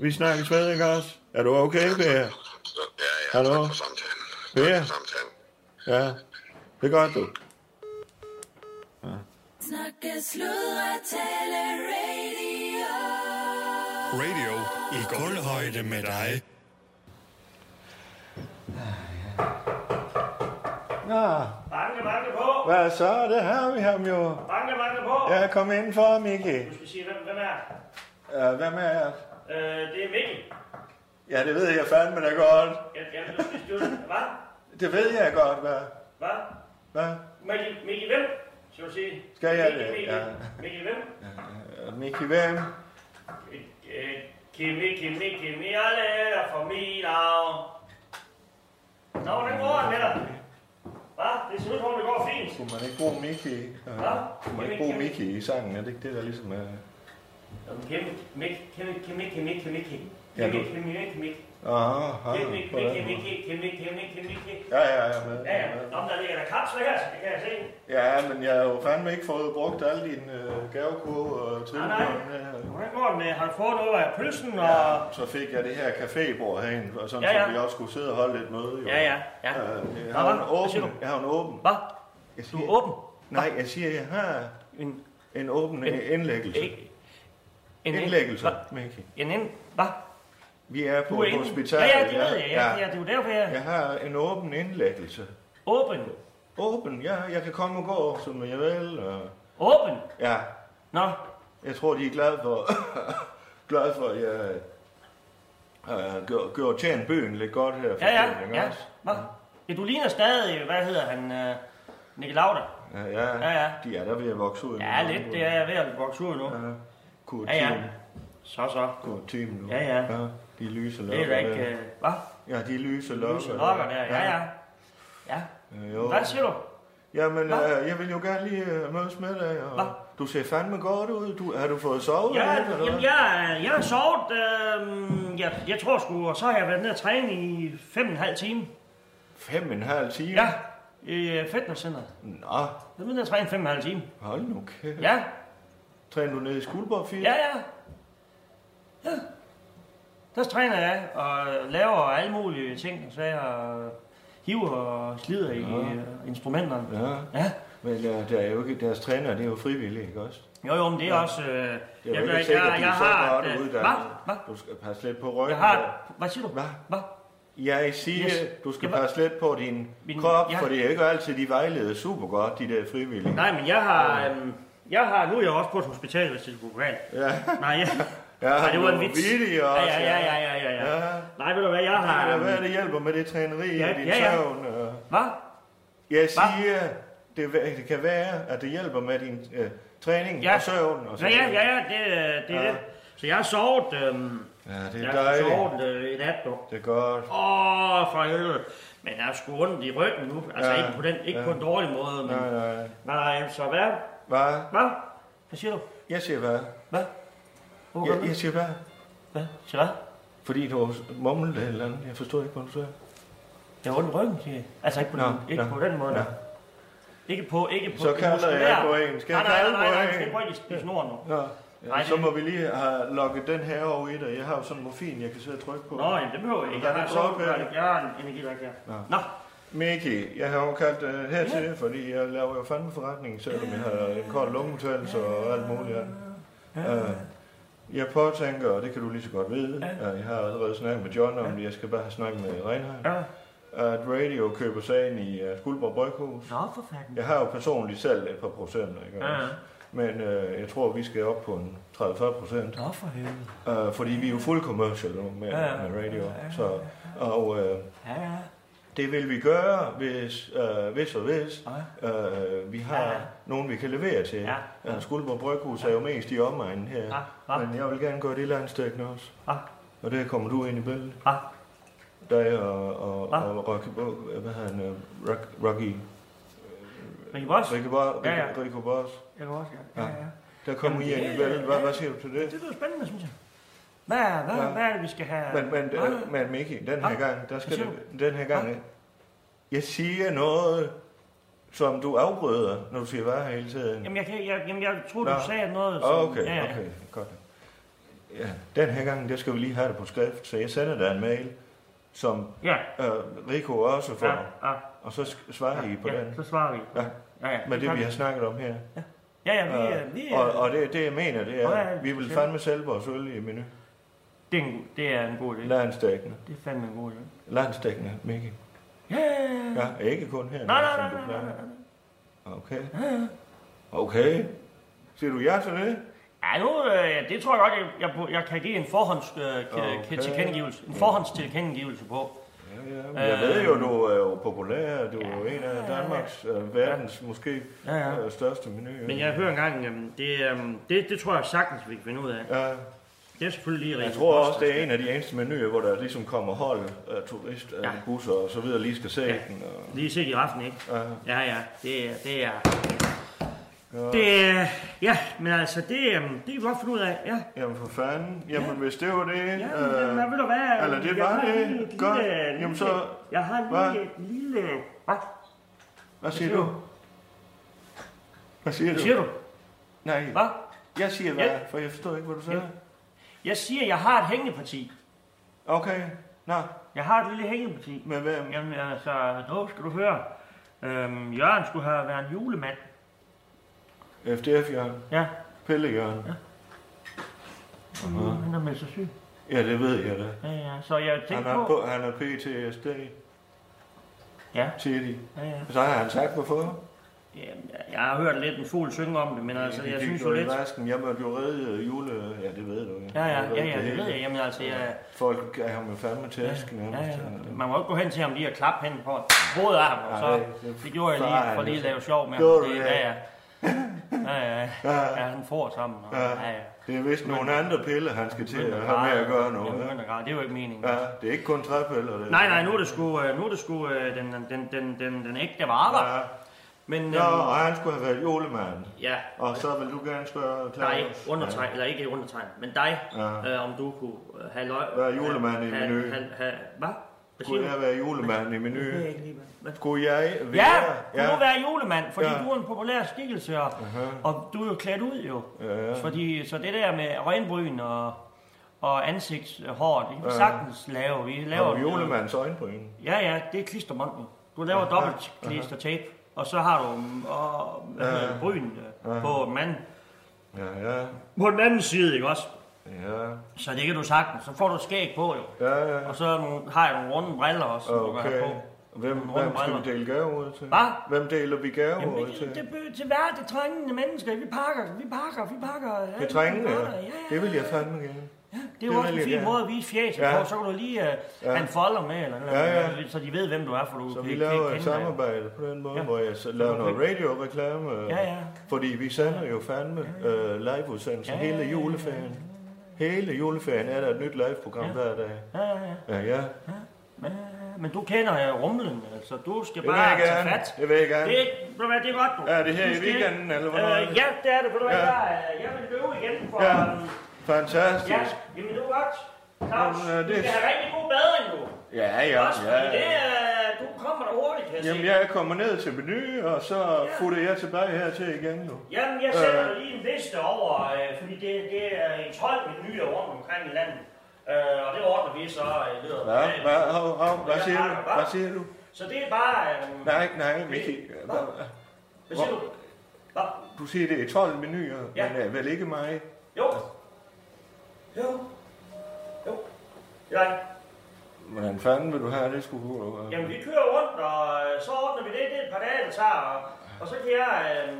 B: Vi snakkes ved, ikke også? Er du okay, Per?
G: Så, ja, ja,
B: Hallo?
G: tak for samtalen.
B: Ja.
G: Tak for samtalen.
B: Ja, det gør du.
H: Snakke, sludre, tale, radio.
I: Radio i guldhøjde med dig.
B: Nå,
J: Banke, banke på.
B: hvad så? Det har vi ham jo.
J: Banke, banke på.
B: Ja, kom indenfor, Miki.
J: Du skal sige, hvem, hvem er det?
B: Uh, hvad med jer?
J: øh, Det er Mikkel.
B: Ja, det ved jeg fandme da godt.
J: Jeg, jeg, du skal du, hvad?
B: Det ved jeg godt, hvad?
J: Hvad?
B: Hvad?
J: Mikkel, Mikkel hvem? Skal du sige?
B: Skal jeg
J: Mikkel,
B: det?
J: Mikkel,
B: Ja.
J: Mikkel hvem?
B: Øh, Miki hvem?
J: Øh, Kimi, Kimi, Kimi, alle er for min navn. Nå, hvordan går det med dig? Hvad? Det ser ud som om, det går fint.
B: Kunne man ikke bruge Miki? Uh,
J: Hvad?
B: kunne man ikke bruge Miki i sangen? Er det ikke det, der ligesom er...
J: Kimi, Kimi, Kimi, Kimi, Kimi, Kimi, Kimi,
B: Ja, du- Ah,
J: Kimi, Kimi,
B: Aha,
J: Ja,
B: aha,
J: Mik,
B: på den
J: Mik,
B: måde.
J: Mik, Mik, Mik, Mik, Mik, Mik.
B: Ja, ja, ja, med,
J: Ja, ja.
B: med.
J: Nå, men der ligger der kapsler her, det kan jeg se.
B: Ja, men jeg har jo fandme ikke fået brugt alle dine øh, gavekurve og trillekurve.
J: Hvordan går den? øh, Har du fået noget af pølsen? Og...
B: Ja, så fik jeg det her cafébord herinde, og sådan,
J: Ja,
B: ja,
J: ja.
B: ja. så vi også skulle sidde og holde et møde. Jo.
J: Ja, ja, ja.
B: Øh,
J: Nå,
B: Jeg har en
J: hvad? Hvad siger
B: åben. Jeg har en åben.
J: Hvad?
B: Jeg
J: Du er åben?
B: Nej, jeg siger, jeg har
J: en,
B: en åben
J: En-
B: indlæggelse.
J: en- en-
B: indlæggelse,
J: Hva?
B: Mikkel.
J: En ind... Hvad?
B: Vi er
J: Du
B: på
J: er inde?
B: hospitalet.
J: Ja, ja, det ved jeg. Ja, ja, det er jo derfor, jeg-
B: Jeg har en åben indlæggelse.
J: Åben?
B: Åben, ja. Jeg kan komme og gå, som jeg vil. Og...
J: Åben?
B: Ja.
J: Nå.
B: Jeg tror, de er glade for, glade for at jeg øh, gør, gør tjent byen lidt godt her. for
J: Ja, ja,
B: tiden, ikke
J: ja.
B: også?
J: Hvad? Ja, du ligner stadig, hvad hedder han, øh, Nick Lauder.
B: Ja, ja,
J: Ja, ja.
B: De er der ved at vokse ud.
J: Ja, lidt, det er ved at vokse ud nu.
B: Kurtimen.
J: Ja, ja. Så, så.
B: Kurtimen nu.
J: Ja, ja.
B: De lyse
J: Det
B: lokker.
J: er da ikke...
B: der.
J: Øh, hvad?
B: Ja, de lyse lokker.
J: Lyse lokker der, ja, ja. Ja.
B: Øh, Jo.
J: Hvad siger du?
B: Jamen,
J: Hvad?
B: øh, jeg vil jo gerne lige øh, mødes med dig. Og Du ser fandme godt ud. Du, har du fået sovet?
J: Ja,
B: lidt, eller hvad?
J: jamen, jeg, jeg har sovet, øh, jeg, jeg tror sgu, og så har jeg været nede og træne i fem og en halv time.
B: Fem og en halv time?
J: Ja, i øh, fitnesscenteret.
B: Nå. Jeg
J: er nede og træne fem og en halv time.
B: Hold nu kæft.
J: Ja.
B: Træner du nede i Skuldborg 4?
J: Ja, ja. Ja. Der træner jeg og laver alle mulige ting, så jeg hiver og slider i
B: Ja.
J: øh, instrumenterne.
B: Ja.
J: ja.
B: Men øh, der er jo ikke, deres træner, det er jo frivillige, ikke også?
J: Jo, jo, men det er
B: Ja.
J: også... Øh, jeg,
B: Det er jo
J: jeg,
B: ikke sikkert,
J: jeg,
B: at de
J: jeg
B: er så
J: har...
B: godt
J: øh,
B: uddannet. Du skal passe lidt på ryggen.
J: Jeg har... Hvad siger du? Hvad? Hvad?
B: Jeg siger,
J: Yes.
B: yes. du skal
J: Jamen-
B: passe lidt på din
J: Min-
B: krop,
J: ja.
B: for det er jo ikke altid, de vejleder super godt, de der frivillige.
J: Nej, men jeg har... Øhm, jeg har... Nu er jeg også på et hospital, hvis det skulle gå galt.
B: Ja.
J: Nej, jeg...
B: Ja,
J: Nej, det var en
B: du er
J: vits.
B: vittig
J: ja,
B: også,
J: ja, ja, ja, ja, ja, ja.
B: Ja.
J: Nej, ved du hvad, jeg har...
B: Nej, det er,
J: øhm,
B: hvad det hjælper med det træneri
J: Ja,
B: ja, i din
J: ja, ja.
B: søvn. Og...
J: Hvad?
B: Jeg siger, det, væ- det kan være, at det hjælper med din øh, træning
J: Ja.
B: og søvn. Og
J: Ja, ja, ja, ja, det, øh, det er
B: Ja.
J: det. Så jeg har sovet... Øhm,
B: Ja, det
J: jeg
B: er
J: har
B: dejligt.
J: sovet øh, i nat, dog.
B: Det er godt.
J: Åh, for helvede. Men jeg er sgu ondt i ryggen nu. Altså
B: Ja,
J: ikke, på, den, ikke
B: ja.
J: på en dårlig måde, men...
B: Nej, nej.
J: Nej, så hvad?
B: Hvad?
J: Hvad? Hvad siger du?
B: Jeg siger hvad?
J: Hvad? Hvor
B: Jeg, jeg siger hvad?
J: Hvad? Siger hvad?
B: Fordi du mumlede et eller andet. Jeg forstod ikke, hvad du sagde.
J: Jeg har ondt i ryggen, siger jeg. Altså ikke på,
B: Nå,
J: den, ikke
B: nå,
J: på den måde.
B: nå.
J: Ikke på, ikke på
B: Så
J: det
B: kalder jeg
J: muskulære.
B: på en. Skal jeg
J: nej, nej,
B: kalde
J: nej,
B: på
J: nej,
B: en?
J: nej, nej, nej, nej, snor nu.
B: Nå.
J: Nej,
B: Ja, så
J: det-
B: må vi lige have lukket den her over i dig. Jeg har jo sådan morfin, jeg kan sidde og trykke på.
J: Nå, jamen, det behøver jeg ikke. Jeg
B: Hvordan
J: har
B: er sovepæren?
J: en jeg har en energidrik her.
B: Nå.
J: Nå.
B: Miki, jeg har jo kaldt uh, hertil,
J: Ja.
B: ja. fordi jeg laver jo fandme forretning, selvom jeg har en kold lungebetændelse og alt muligt andet.
J: Ja.
B: Uh, jeg påtænker, og det kan du lige så godt vide, ja. jeg har allerede snakket med John om det, jeg skal bare have snakket med Reinhardt, at Radio køber sagen i uh, Skuldborg Bryghus.
J: Nå, for fanden.
B: Jeg har jo personligt selv et par procenter, ikke?
J: Ja, ja.
B: Men øh, jeg tror, vi skal op på en 30-40 procent.
J: Nå, for helvede.
B: Øh, fordi vi er jo fuld commercial nu med,
J: Ja, ja.
B: med radio. Så, og øh,
J: Ja, ja.
B: det vil vi gøre, hvis, øh, hvis og hvis øh, vi har
J: Ja, ja.
B: nogen, vi kan levere til. Ja, ja. Skuldborg Bryghus er jo mest i omegnen her.
J: ja.
B: Men jeg vil gerne gøre det landstækkende også.
J: Ja.
B: Og der kommer du ind i billedet.
J: Ja.
B: Dig og, og, og Rocky, hvad hedder han, øh, Rock- Rocky,
J: Rikke Boss?
B: Rikke Boss.
J: Ja, ja.
B: Rikke Boss.
J: Jeg kan også, ja. Ja, ja.
B: Der kommer
J: Jamen,
B: I ind
J: det-
B: i billedet. Hvad, hvad siger du til
J: Det lyder spændende, synes jeg. Hvad, hvad,
B: Ja.
J: hvad er det, vi skal have?
B: Men, men,
J: Hvad?
B: øh, men Miki, den
J: Ja.
B: her gang, der skal
J: Hvad
B: det,
J: siger
B: den her gang, jeg siger noget, som du afbryder, når du siger hvad hele tiden.
J: Jamen, jeg, kan, jeg, jamen, jeg troede,
B: Nå.
J: du sagde noget.
B: Åh,
J: som-
B: okay,
J: ja, ja.
B: okay, godt. Ja, den her gang, der skal vi lige have det på skrift, så jeg sender dig en mail, som
J: Ja.
B: øh, Rico også får,
J: Ja, ja.
B: og så sk- svarer I på
J: ja,
B: den.
J: så svarer vi.
B: Ja.
J: Ja, ja,
B: Med
J: det
B: det,
J: gør
B: vi
J: vi.
B: har snakket om her.
J: Ja, ja, vi,
B: Øh,
J: øh, vi,
B: og,
J: øh,
B: og det, det, jeg mener, det er,
J: Nå, ja,
B: vi vil
J: selv.
B: fandme sælge vores øl i menu.
J: Det er en, det er en god idé.
B: Landstækkende.
J: Det er fandme en god idé.
B: Landstækkende, Miki.
J: Ja, ja, ja.
B: Ja, ikke kun her.
J: Nej, nej,
B: som
J: nej,
B: du
J: nej,
B: plejer.
J: nej, nej.
B: Okay.
J: Ja, ja.
B: Okay. Siger du ja til det?
J: Ja, nu, øh, det tror jeg godt, jeg, jeg, jeg kan give en forhånds, øh, okay.
B: Okay. Mm.
J: tilkendegivelse, en forhåndstilkendegivelse på.
B: Ja, men Jeg ved jo, du er jo populær. Du er jo en af Danmarks, øh, verdens måske
J: Ja, ja.
B: øh, største menu.
J: Men jeg hører engang, øhm, det, øhm, det, det tror jeg sagtens, vi kan finde ud af.
B: Ja.
J: Det er selvfølgelig lige
B: Jeg
J: rigtigt.
B: tror også, det er en af de eneste menuer, hvor der ligesom kommer hold af turistbusser
J: Ja.
B: busser og så videre, lige skal se
J: Ja.
B: den. Og...
J: Lige set i aften, ikke?
B: Ja.
J: Ja, ja, det, er- det er... Det, er- ja, men altså, det, øhm, det kan vi godt finde ud af, ja.
B: Jamen for fanden. Jamen hvis det var det...
J: Ja, men, øh, ved du hvad?
B: Eller det
J: jeg
B: var
J: har lige
B: det.
J: et
B: Godt.
J: lille-
B: Jamen så...
J: lille- Jeg har lige
B: Hvad?
J: et lille... Hvad?
B: Hvad siger du? Hvad siger du?
J: Hvad siger du?
B: Nej.
J: Hvad?
B: Jeg siger hvad,
J: Ja.
B: for jeg forstod ikke, hvad du sagde.
J: Jeg siger, jeg har et hængeparti.
B: Okay. Nå.
J: Jeg har et lille hængeparti.
B: Med hvem?
J: Jamen altså, nu skal du høre. Øhm, Jørgen skulle have været en julemand.
B: FDF Jørgen.
J: Ja.
B: Pelle Jørgen. Ja.
J: Mm, Han er med sig syg.
B: ja, det ved jeg da.
J: Ja, ja. Så jeg
B: Han
J: tænkte
B: har,
J: på...
B: på, han har PTSD.
J: Ja.
B: Tidlig.
J: Ja, ja.
B: Så har han sagt, hvorfor?
J: Jamen, jeg har hørt lidt en fugl synge om det, men altså,
B: Det
J: jeg
B: gik
J: synes jo
B: i
J: lidt...
B: vasken. Jeg måtte jo redde øh, jule... Ja, det ved du.
J: Ja, ja,
B: Jeg
J: ja,
B: ikke
J: ja, det
B: hele.
J: ved jeg. Jamen, altså, jeg-
B: Folk gav ham jo fandme tæsken.
J: Ja, ja. Man må ikke gå hen til ham lige og klappe hen på hovedet af ham,
B: Nej,
J: og så
B: det-
J: det gjorde jeg
B: farer
J: lige for
B: han
J: lige at
B: altså.
J: lave sjov med ham.
B: Gjorde
J: Det,
B: du
J: ja,
B: det?
J: ja. Ja, ja. Ja, han får sammen. Og, ja, ja.
B: Det er vist nogle andre piller, han skal til at have med at gøre nu.
J: Jamen,
B: Ja.
J: begynder at græde. Det er jo ikke meningen.
B: Ja, det er ikke kun træpiller. Det
J: Nej, nej, nu er det sgu, øh, nu er det sgu øh, den, den, den, den, den, den ægte vare.
B: Ja.
J: Men, øhm,
B: Nå, og han skulle have været julemand.
J: ja,
B: Og så vil du gerne spørge Claus.
J: dig, undertegn, eller ikke undertegn, men dig,
B: Ja.
J: øh, om du kunne øh, have løg.
B: Være julemand i
J: have-
B: menu.
J: have- have- Hvad? Hvad siger
B: Skulle
J: du?
B: jeg være julemand i menu?
J: Det kan jeg ikke lide, hvad?
B: Skulle jeg være?
J: Ja, du må være julemand, fordi
B: Ja. Uh-huh.
J: du er en populær skikkelse, og, og du er jo klædt ud jo.
B: Ja.
J: Fordi, så det der med øjenbryn og, og ansigtshår, det kan vi
B: Ja.
J: sagtens lave. Vi laver
B: Har du julemandens øjenbryn?
J: Ja, ja, det er klistermund. jo. Du laver
B: Ja.
J: dobbelt klister tape, og så har du mm, og, hvad hedder
B: Ja.
J: det, bryn øh,
B: Ja.
J: på manden.
B: Ja, ja.
J: På den anden side, ikke også?
B: Ja,
J: Så det kan du sagtens. Så får du skæg på, jo.
B: ja. ja.
J: Og så nogle, har jeg nogle runde briller også, som du kan have
B: Okay.
J: på.
B: Hvem,
J: Nogle runde
B: hvem skal
J: briller.
B: vi dele gave ud til?
J: Hvad?
B: Hvem deler vi gave
J: Jamen,
B: ud
J: det,
B: til?
J: det, det, til hver det trængende mennesker. Vi pakker, vi pakker, vi pakker. alle
B: Det
J: mulige
B: trængende?
J: parter. Ja, ja.
B: Det vil jeg fandme gerne.
J: Det er jo
B: det vil
J: også en
B: jeg
J: fin
B: gerne.
J: måde at vise fjæset
B: Ja.
J: på. Så kan du lige uh, ja.
B: Ja.
J: have en folder med, eller noget,
B: Ja, ja.
J: så de ved, hvem du er, for du
B: Så
J: kan
B: vi
J: ikke
B: laver
J: kende
B: et samarbejde på den måde,
J: Ja.
B: ja. hvor jeg så laver noget radioreklame.
J: Ja, ja.
B: Fordi vi sender jo fandme øh, liveudsendelser
J: Ja,
B: ja,
J: ja, ja,
B: hele juleferien. Hele juleferien er der et nyt liveprogram hver dag.
J: dig. Ja, ja, ja.
B: Ja, ja.
J: Men du kender uh, rumlen, altså. Du skal
B: Det vil
J: bare
B: jeg
J: tage
B: gerne.
J: fat.
B: Det vil jeg gerne.
J: Det, er- ved du hvad, det er godt, du.
B: Er det her
J: Du
B: i
J: skal-
B: weekenden, eller
J: Øh,
B: hvornår er det?
J: ja, det er det. Ved du hvad,
B: Ja.
J: jeg, øh, jeg vil løbe igen for...
B: Ja.
J: øhm,
B: Fantastisk.
J: Ja, jamen det var godt. Claus,
B: Jamen, øh,
J: du
B: det-
J: skal have rigtig god badring, du.
B: Ja, ja,
J: Også fordi det,
B: ja.
J: øh, du kommer der hurtigt, kan jeg
B: Jamen,
J: se.
B: jeg kommer ned til menu, og så ja. futter jeg tilbage hertil igen nu.
J: Jamen, jeg sender
B: Øh.
J: øh. lige en liste over, øh, fordi det, det er en 12 menuer rundt omkring i landet. Øh, og det ordner vi så øh, i løbet af
B: Hvad,
J: dagen.
B: hvad, hov, hov, hvad
J: Jeg
B: siger du?
J: pakker, hva?
B: Hvad siger du?
J: Så det er bare... Øh,
B: Nej, nej, Miki. Hvad,
J: Hvad siger
B: Hvor-
J: du? Hva?
B: Du siger, det er 12 menuer,
J: Ja.
B: ja. men øh, vel ikke mig.
J: Jo. Jo. Jo. Ja.
B: Hvordan fanden vil du have det, skulle du? øh?
J: Jamen, vi kører rundt, og øh, så ordner vi det. Det er et par dage, det tager. Og, og så kan jeg... Øh,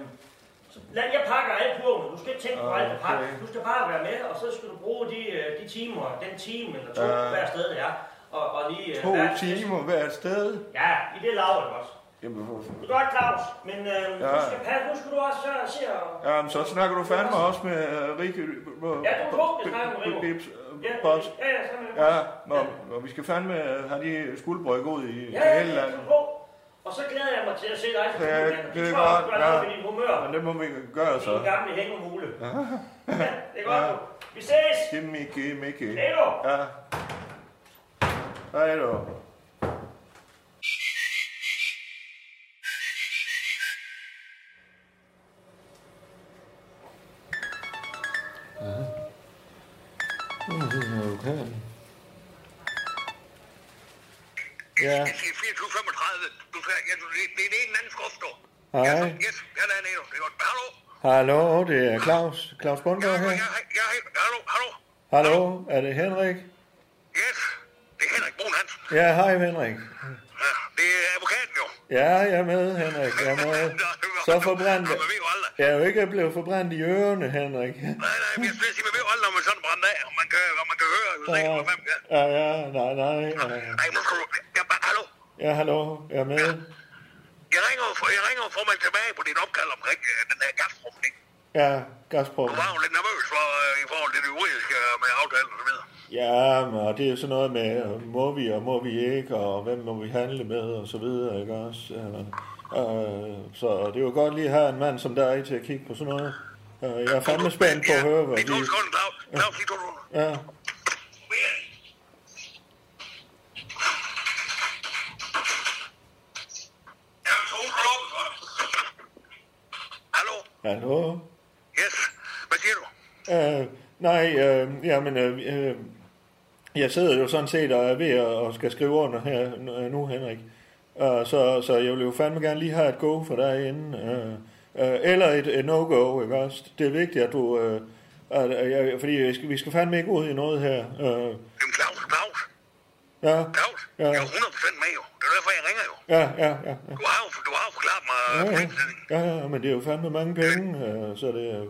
J: så lad, jeg pakker alle kurvene. Du skal ikke tænke på alt det pakke.
B: Ah, Okay.
J: Du skal bare være med, og så skal du bruge de, øh, de timer, den time eller to,
B: Ja.
J: hver sted det er. Og, og lige, øh,
B: Ah. To
J: hver-
B: timer hvert sted.
J: Ja, i det laver det også.
B: Jamen, hvor-
J: Det er godt, Claus, men øh, ja.
B: Ja.
J: du skal passe. Nu skal du også øh, se og...
B: Jamen, så snakker du fandme også med uh, Rikke... Uh,
J: Ja, du er vi snakker med Rikke. Ja,
B: Boss.
J: ja, ja, så er det.
B: øh, Ja, og, og vi skal fandme øh, have de skuldbrygge ud i
J: Ja,
B: til
J: ja,
B: hele
J: ja,
B: landet.
J: på. Og så glæder jeg mig til at se dig som
B: Ja,
J: julemand.
B: det er
J: tror jeg,
B: godt,
J: du har
B: ja.
J: med din humør. er
B: Men det må vi gøre
J: Din
B: så.
J: gamle hængemule.
B: Ja.
J: Det er godt. du. Vi ses.
B: Det er Mickey, Mickey.
J: Hej du.
B: Ja. Hej du. Ja,
G: Jeg siger 24.35. Du skal, ja, du, det, det er den ene anden skrift, du.
B: hej.
G: Yes, ja, der er det, det er godt. Hallo?
B: Hallo, det er Claus. Claus Bundgaard her.
G: Ja, hey, hallo, hallo.
B: Hallo, er det Henrik?
G: Yes, det er Henrik Brun Hansen.
B: Ja, hej Henrik.
G: Ja, det er
B: Ja, jeg er med, Henrik. Jeg er med. Så forbrændt. Jeg er jo ikke blevet forbrændt i ørerne, Henrik. Nej, nej, men jeg synes, man ved aldrig, når man sådan brænder af, og man kan, og man kan høre. Ja, ja, nej, nej. nej. Ja, hallo, jeg er med.
G: Jeg ringer jo for, jeg ringer jo for mig tilbage på dit opkald omkring øh, den her gasrum, ikke?
B: Ja, Gazprom.
G: Du var jo lidt nervøs for, øh, i forhold til det juridiske øh, med aftalen og så videre.
B: Ja, men og det er jo sådan noget med, øh, må vi og må vi ikke, og hvem må vi handle med, og så videre, ikke også? Øh, øh, så det er jo godt lige at have en mand som dig til at kigge på sådan noget. Øh, jeg er fandme spændt på at høre, hvad de... Ja,
G: Hallo?
B: hallo?
G: Yes? Hvad siger du?
B: Øh, nej, øh, jamen, øh, øh, jeg sidder jo sådan set og er ved at og skal skrive under her øh, nu, Henrik. Øh, så, så jeg vil jo fandme gerne lige have et go for dig inden. Øh, øh, eller et, et no-go, ikke også? Det er vigtigt, at du... Øh, at, at jeg, fordi jeg skal, vi skal fandme ikke ud i noget her. Øh,
G: Jamen, Claus, Claus.
B: ja,
G: Claus,
B: Ja.
G: ja. jeg er 100% med jo. Det er derfor, jeg ringer jo.
B: ja, ja, ja.
G: Du har jo, du har jo forklaret mig øh,
B: Ja, ja.
G: problemstillingen.
B: ja, ja, men det er jo fandme mange penge, øh, så det er jo...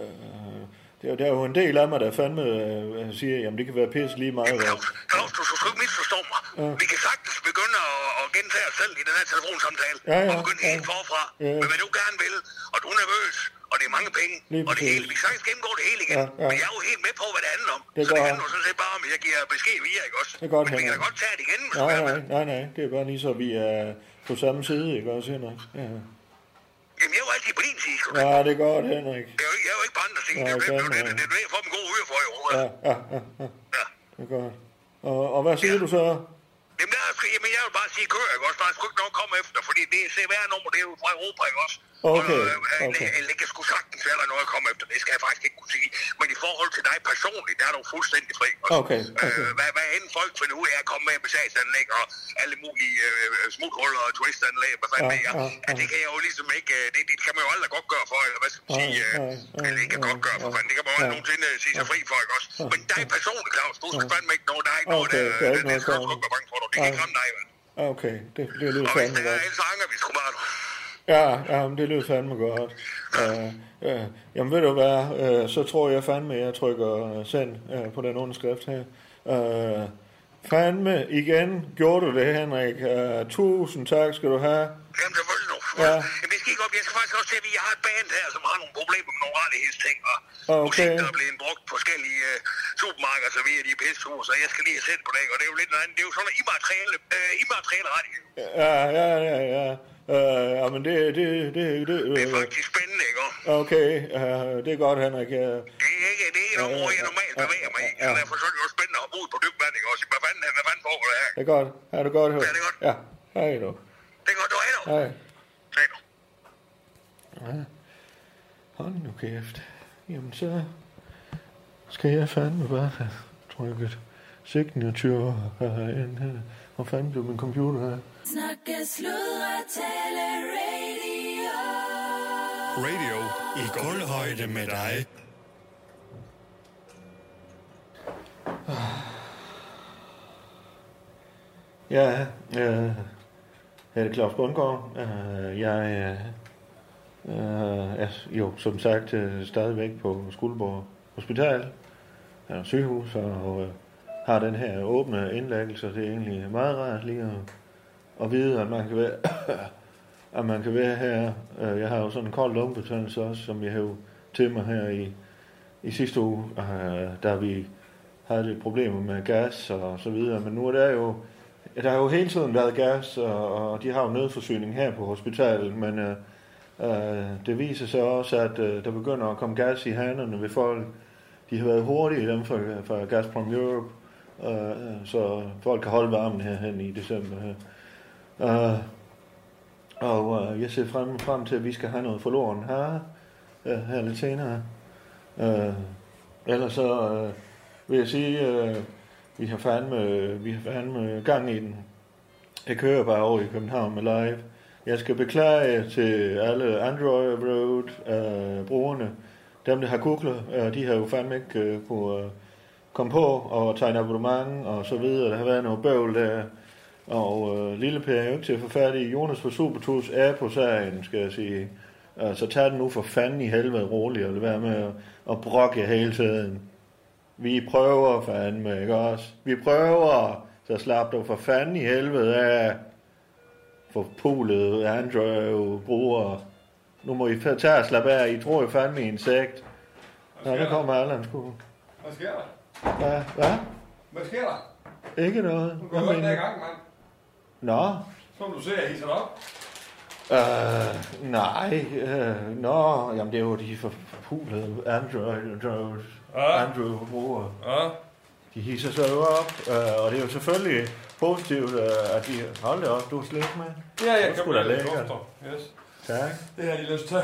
B: Øh, det er, jo- der er jo en del af mig, der fandme øh, siger, jamen det kan være pisse lige meget. Hvad.
G: Claus, du skal sgu ikke misforstå mig.
B: Ja.
G: Vi kan sagtens begynde at, at gentage os selv i den her telefonsamtale.
B: Ja, ja,
G: Og begynde
B: ja.
G: helt forfra.
B: Ja.
G: Men hvad du gerne vil, og du er nervøs, og det er mange penge,
B: Lige
G: og det
B: præcis.
G: hele. Vi kan sagtens gennemgå det hele igen.
B: Ja, ja.
G: Men jeg er jo helt med på, hvad det handler om.
B: Det er
G: så det
B: godt.
G: handler jo sådan set bare om, at jeg giver besked via, ikke også?
B: Det er godt,
G: Men vi kan da
B: Henrik.
G: godt tage det igen, hvis du
B: Nej,
G: gerne vil.
B: nej, nej, nej. Det er bare lige så, vi er på samme side, ikke også, Henrik? Ja,
G: Jamen, jeg er jo altid på din side, sgu.
B: ja det er godt, Henrik.
G: Jeg er jo ikke- jeg er jo ikke på andre side.
B: Nej,
G: Det er jo det,
B: fandme,
G: det, er jo
B: ja.
G: det, det, jeg får en god øre for, jo.
B: Ja, ja, ja, ja. Det er godt. Og, og hvad siger du så?
G: Jamen, der, er sgu- jamen, jeg vil bare sige, kør, ikke også? Der er sgu ikke nogen at komme efter, fordi det CVR-nummer, det er jo fra Europa, ikke også?
B: Okay,
G: Og, øh,
B: okay.
G: øh, Det kan sgu sagtens være, der er noget at komme efter. Det skal jeg faktisk ikke kunne sige. Men i forhold til dig personligt, der er du fuldstændig fri. Også.
B: Okay, okay.
G: Øh, hvad, hvad end folk finder ud af at komme med besagsanlæg og alle mulige øh, smuthuller og twistanlæg, hvad fanden
B: Ja,
G: ja, ja,
B: ja,
G: ja. Det kan jeg jo ligesom ikke, øh, det, det kan man jo aldrig godt gøre for, eller hvad skal man
B: Nej,
G: sige, øh,
B: nej, nej,
G: eller ikke godt gøre for fanden. Det kan man jo
B: Ja.
G: aldrig nogensinde øh, sige sig fri for, ikke også? Men dig personligt, Claus, du skal fandme ikke noget, der er ikke noget,
B: Okay,
G: der, øh,
B: der er ikke
G: der
B: noget
G: skal du
B: kommet.
G: sgu ikke være bange for, du. Det kan ikke ramme dig, vel?
B: Okay, det, det lyder
G: Og hvis
B: fandme
G: det er,
B: godt.
G: ellers så hanger vi sgu bare.
B: Ja, ja, men det lyder fandme godt. Uh, uh, jamen ved du hvad, uh, så tror jeg fandme, jeg trykker øh, send uh, på den underskrift her. Uh, fandme, igen gjorde du det, Henrik. Uh, tusind tak skal du have.
G: Jamen, selvfølgelig nu.
B: Ja.
G: Jamen, det skal ikke op. Jeg skal faktisk også se, at vi har et band her, som har nogle problemer med nogle rettighedsting, og
B: Okay.
G: musik, der er blevet brugt på forskellige øh, supermarkeder, så vi er de pisse så jeg skal lige have sendt på det, og det er jo lidt noget andet. Det er jo sådan noget immaterielle, øh, immaterielle rettigheder.
B: Ja, ja, ja, ja. Uh, jamen det, det, det, det, det er faktisk
G: spændende, ikke?
B: Okay, uh, det er godt, Henrik. Uh,
G: Det er ikke, det er ikke noget, hvor jeg normalt bevæger mig i, så derfor så er det jo spændende at hoppe ud på dybt vand, ikke? Og sige, hvad fanden, hvad fanden foregår der her?
B: det er godt. Er det godt, Henrik? Ja, hej du.
G: Det er godt, du er her.
B: Hej. Ja. Hold nu kæft. Jamen så skal jeg fandme bare have trykket signature herinde her. Hvor fanden blev min computer her?
H: Snakke, sludre, tale, radio.
I: Radio i guldhøjde med dig.
B: Ja, øh, jeg er Claus Bundgaard. Øh, jeg øh, øh, er jo som sagt øh, stadigvæk på Skuldborg Hospital, eller sygehus, og øh, har den her åbne indlæggelse. Det er egentlig meget rart lige at, at vide, at man kan være, at man kan være her. Øh, jeg har jo sådan en kold lungebetændelse også, som jeg hævde til mig her i, i sidste uge, øh, da vi havde lidt problemer med gas og så videre. Men nu er der jo Ja, Der har jo hele tiden været gas, og, og de har jo nødforsyning her på hospitalet, men øh, øh, det viser sig også, at øh, der begynder at komme gas i hanerne ved folk. De har været hurtige, dem fra, fra Gazprom Europe, øh, øh, så folk kan holde varmen her hen i december. Her. Øh, og øh, jeg ser frem, frem til, at vi skal have noget forloren her, øh, her lidt senere. Øh, ellers så øh, vil jeg sige... Øh, vi har fandme, vi har fandme gang i den. Jeg kører bare over i København med live. Jeg skal beklage til alle Android Road øh, brugerne. Dem, der har googlet, øh, de har jo fandme ikke øh, kunne øh, komme på og tegne abonnement og så videre. Der har været noget bøvl der. Og øh, Lille Per er jo ikke til at få fat i. Jonas fra Supertus er på sagen, skal jeg sige. Altså, tag den nu for fanden i helvede roligt, og lad være med at, at brokke jer hele tiden. Vi prøver fandme, ikke også? Vi prøver, så slap dig for fanden i helvede af forpulede Android-brugere. Nu må I fa- tage og slappe af. I tror jo fandme i insekt. Nå, der kommer Allan sgu.
D: Hvad sker der?
B: Hvad? Hvad?
D: Hvad sker der?
B: Ikke noget.
D: Du går godt den her gang, mand.
B: Nå,
D: Som du ser, jeg hisser dig op.
B: Øh, nej, øh, nå, jamen det er jo de forpulede Android, Android, ja. Android-brugere.
D: Ja.
B: De hisser sig jo op, øh, og det er jo selvfølgelig positivt, øh, at de... Hold da op, du er slet med.
D: Ja, jeg
B: Det er sgu
D: købte
B: da
D: det.
B: lækkert.
D: Yes.
B: Tak.
D: Det har de lyst til.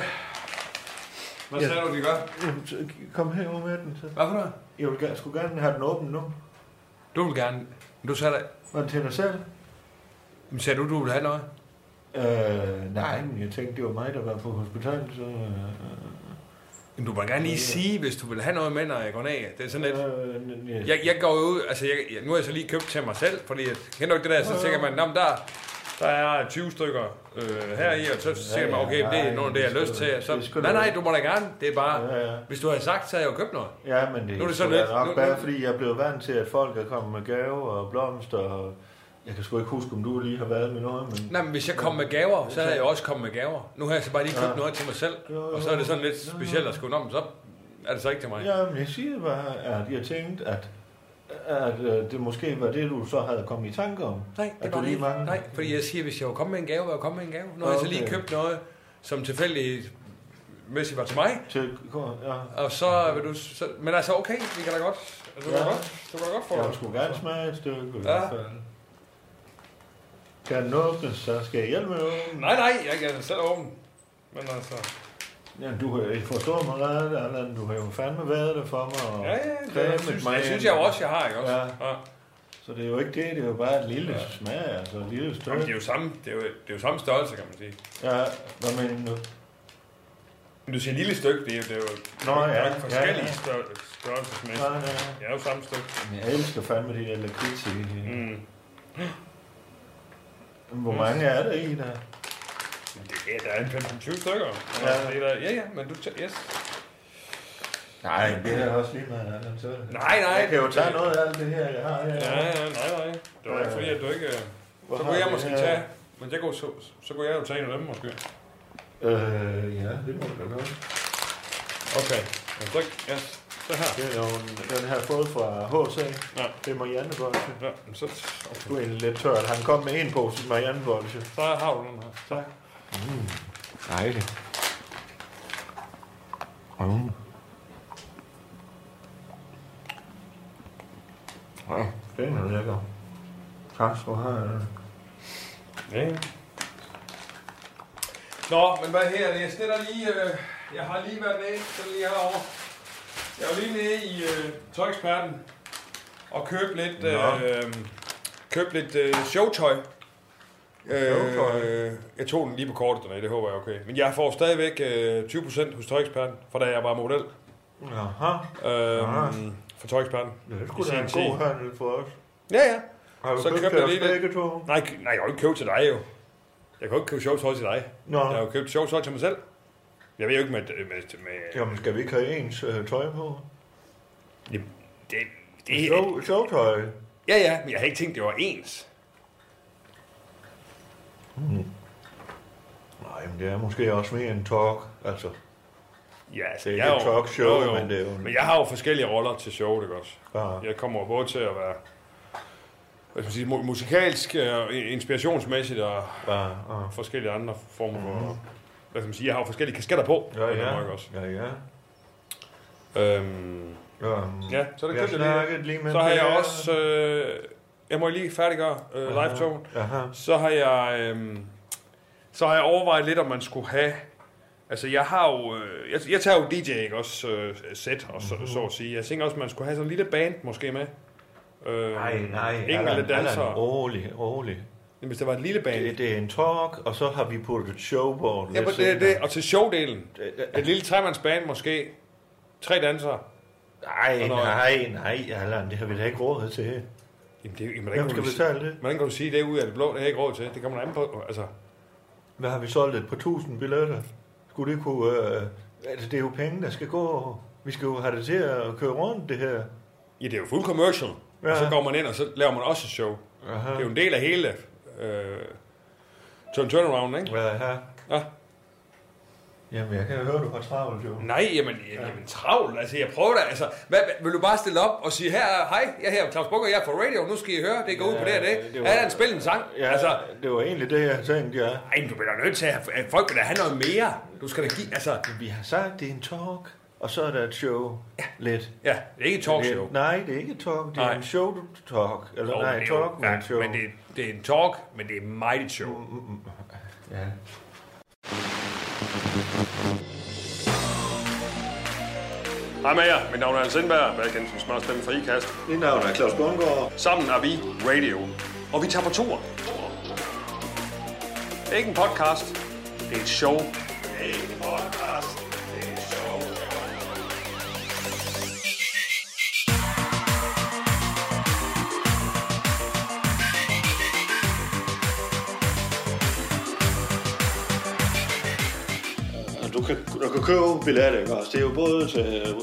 D: Hvad
B: Ja.
D: sagde du, de gør?
B: Jamen, så Kom herover med den. Så.
D: Hvad for noget?
B: Jeg vil gerne, skulle gerne have den åben nu.
D: Du vil gerne... Du sagde dig...
B: Var det til dig selv?
D: Men sagde du, du ville have noget?
B: Øh, nej, men jeg tænkte, det var mig, der var på hospitalet, så... Øh,
D: Men du må gerne lige sige, hvis du vil have noget med, når jeg går ned. Det er sådan lidt...
B: øh,
D: Jeg, jeg går jo ud, altså jeg, jeg, nu har jeg så lige købt til mig selv, fordi jeg kender du ikke det der, så tænker man, "Nå, men der, der er 20 stykker øh, her i, og så siger man, okay, det er noget, af det jeg har lyst til. Så, nej, nej, du må da gerne, det er bare, hvis du havde sagt, så havde jeg jo købt noget.
B: Ja, men det,
D: Nu er det
B: sgu
D: sådan
B: da
D: lidt-
B: nok
D: nu-
B: bare
D: nu-
B: fordi jeg blev vant til, at folk er kommet med gaver og blomster. Og jeg kan sgu ikke huske, om du lige har været med noget, men...
D: Nej, men hvis jeg kom med gaver, så havde jeg også kommet med gaver. Nu har jeg så bare lige købt
B: Ja.
D: noget til mig selv,
B: Jo, jo.
D: og så er det sådan lidt specielt at skulle om, så er det så ikke til mig.
B: Ja, men jeg siger bare, at jeg tænkte, at, at øh, det måske var det, du så havde kommet i tanke om.
D: Nej,
B: at
D: det
B: du
D: var det
B: lige
D: ikke.
B: manglede-
D: Nej, fordi jeg siger, hvis jeg var kommet med en gave, var jeg kommet med en gave. Nu har jeg så lige
B: Okay.
D: købt noget, som tilfældigvis var til mig.
B: Til, ja.
D: Og så vil du... Så, men altså, okay, vi kan da godt... Altså, du,
B: Ja.
D: kan godt, du kan da godt få
B: Jeg vil
D: det.
B: sgu gerne smage et stykke, i
D: Ja.
B: hvert fald. Kan den åbnes, så skal jeg hjælpe med at åbne.
D: Nej, nej, jeg kan selv åbne. Men altså...
B: Ja, du har jo forstået mig ret, Allan. Du har jo fandme været der for mig. Og
D: Ja, ja, det
B: kræmet
D: synes-
B: mig
D: det synes
B: ind.
D: jeg jo også, jeg har, ikke også?
B: Ja.
D: Ja.
B: Så det er jo ikke det, det er jo bare et lille ja. smag, altså et lille stykke.
D: Jamen, det er jo samme, det er jo, det er jo samme størrelse, kan man sige.
B: Ja, hvad mener du?
D: Men du siger lille stykke, det er jo, det er jo
B: Nå,
D: der er
B: ja,
D: ikke forskellige
B: ja, ja.
D: stør- størrelsesmæssigt.
B: Nej, nej.
D: Det er jo samme stykke.
B: Jeg elsker fandme de der lakrids i.
D: Mm.
B: Hvor mange er der i der?
D: Ja, der er en 25 stykker. Og
B: Ja.
D: det er der- Ja, ja, men du tager... Yes.
B: Nej, det er også lige meget andet. Så...
D: Nej, nej.
B: Jeg kan jo tage noget af alt det her, jeg har her.
D: Ja, ja, nej, nej. Det var ikke fordi, at du ikke... øh,
B: Hvor
D: så
B: har
D: kunne jeg
B: vi
D: måske
B: her?
D: tage... Men jeg kunne, så, så kunne jeg jo tage en af dem, måske.
B: Øh, ja, det må du da godt.
D: Okay. Og så, ja, så her.
B: Det er jo en, den her fået fra HC.
D: Ja.
B: Det er Marianne Bolsje.
D: Ja, men så... Okay.
B: Du er egentlig lidt tørt. Han kom med en pose Marianne Bolsje.
D: Så har du den her.
B: Tak. Mm. Dejligt. Mm. Ja, den er lækker. Tak skal du have.
D: Ja, ja. Nå, men hvad her? Jeg snitter lige... Øh, jeg har lige været nede, så lige herovre. Jeg er jo lige nede i øh, tøjeksperten og købt lidt, øh, købt lidt øh, showtøj.
B: Showtøj?
D: Øh, jeg tog den lige på kortet dernede, det håber jeg er okay. Men jeg får stadigvæk øh, 20% hos tøjeksperten, for da jeg var model.
B: Jaha.
D: Øh, for tøjeksperten.
B: Ah. Det er
D: i
B: sgu da en
D: sin tid.
B: god handel for os.
D: Ja, ja.
B: Har du
D: Så
B: købt til
D: købte jeg
B: os
D: lige lidt-
B: begge to?
D: Nej, k- nej, jeg har jo ikke købt til dig jo. Jeg kan jo ikke købe sjovt tøj til dig.
B: Nå.
D: Jeg har jo købt sjovt tøj til mig selv. Jeg ved jo ikke med... med, med
B: Jamen, skal vi ikke have ens øh, tøj på?
D: Jamen, det, det er...
B: Show, showtøj.
D: Ja, ja, men jeg havde ikke tænkt, det var ens.
B: Nej, men det er måske også mere en talk. Altså,
D: Ja, altså,
B: Det er
D: jeg
B: ikke
D: er
B: et
D: jo-
B: talkshow, men det er jo en- Ah.
D: Men jeg har jo forskellige roller til show, det også?
B: Ja.
D: Jeg kommer jo både til at være hvad skal man sige, mu- musikalsk, øh, inspirationsmæssigt og
B: ja, ja.
D: forskellige andre former for... Hvad skal man sige, jeg har jo forskellige kasketter på.
B: Mhm. Ja,
D: på den
B: ja.
D: måde, ikke også?
B: Ja, ja.
D: Øhm,
B: Øhm,
D: Ja, så er
B: vi
D: det
B: har
D: købt jeg
B: snakket lige med
D: Så har jeg
B: Per.
D: også... Øh, jeg må lige færdiggøre øh,
B: Aha,
D: live-togen.
B: aha.
D: Så har jeg... Øh, så har jeg overvejet lidt, om man skulle have... Altså, jeg har jo... Øh, jeg, jeg tager jo DJ, ikke også? Øh, sæt, og så, så at sige. Jeg tænker også, man skulle have sådan en lille band måske med.
B: Nej,
D: Øh,
B: nej,
D: Enkelte
B: Allan, Allan,
D: dansere.
B: rolig, rolig.
D: Jamen, Hvis det var et lille band.
B: Det, det er en talk, og så har vi puttet et show på
D: Ja, men det, er det, og til showdelen.
B: det-
D: Et lille tremandsband måske. Tre dansere.
B: Nej, nej,
D: Og noget.
B: nej, nej, Allan, det har vi da ikke råd til.
D: Jamen, det, er- jamen,
B: Hvem
D: hvordan, kan
B: skal
D: du,
B: betale
D: sige- hvordan kan du sige det ud af det blå? Det har jeg ikke råd til. Det kommer der an på. Altså,
B: Hvad har vi solgt et par tusind billetter? Skulle det kunne... Øh, altså, det er jo penge, der skal gå. Vi skal jo have det til at køre rundt, det her.
D: ja, det er jo fuld commercial. Ja. Og så går man ind, og så laver man også et show. Aha. Det er jo en del af hele øh, turn turnaround, ikke?
B: Aha.
D: Ja.
B: Jamen, jeg kan jo høre, du har travlt, jo.
D: Nej, jamen, jamen travlt. Altså, jeg prøver da. Altså, hvad, hvad- vil du bare stille op og sige, her, er- hej, jeg hedder Claus Bukker, jeg er fra radio, nu skal I høre, det går ud på det og det.
B: det
D: det
B: var-
D: var, er en spil en sang?
B: Ja, altså, det var egentlig det, jeg tænkte, ja.
D: Ej, men du bliver da nødt til at have- at folk vil da have noget mere. Du skal da give, altså...
B: Vi har sagt, det er en talk, og så er der et show. Ja. Lidt.
D: Ja, det er ikke et talkshow.
B: Det, nej, det er ikke et talk. Det er
D: Nej.
B: en show talk. Eller
D: Jo,
B: nej,
D: men
B: en
D: det er jo-
B: talk, men en show.
D: Men det, det er en talk, men det er meget et show.
B: Ja.
K: Hej med jer. Mit navn er Hans Indberg, hvad jeg kender som smørstemme fra IKAST.
B: Mit navn er Claus Bundgaard.
K: Sammen er vi Radio. Og vi tager på tur. Det er ikke en podcast. Det er et show.
I: Ikke podcast. Det er show.
B: Og Du kan, du kan købe billetter, ikke også? Det er jo både til øh,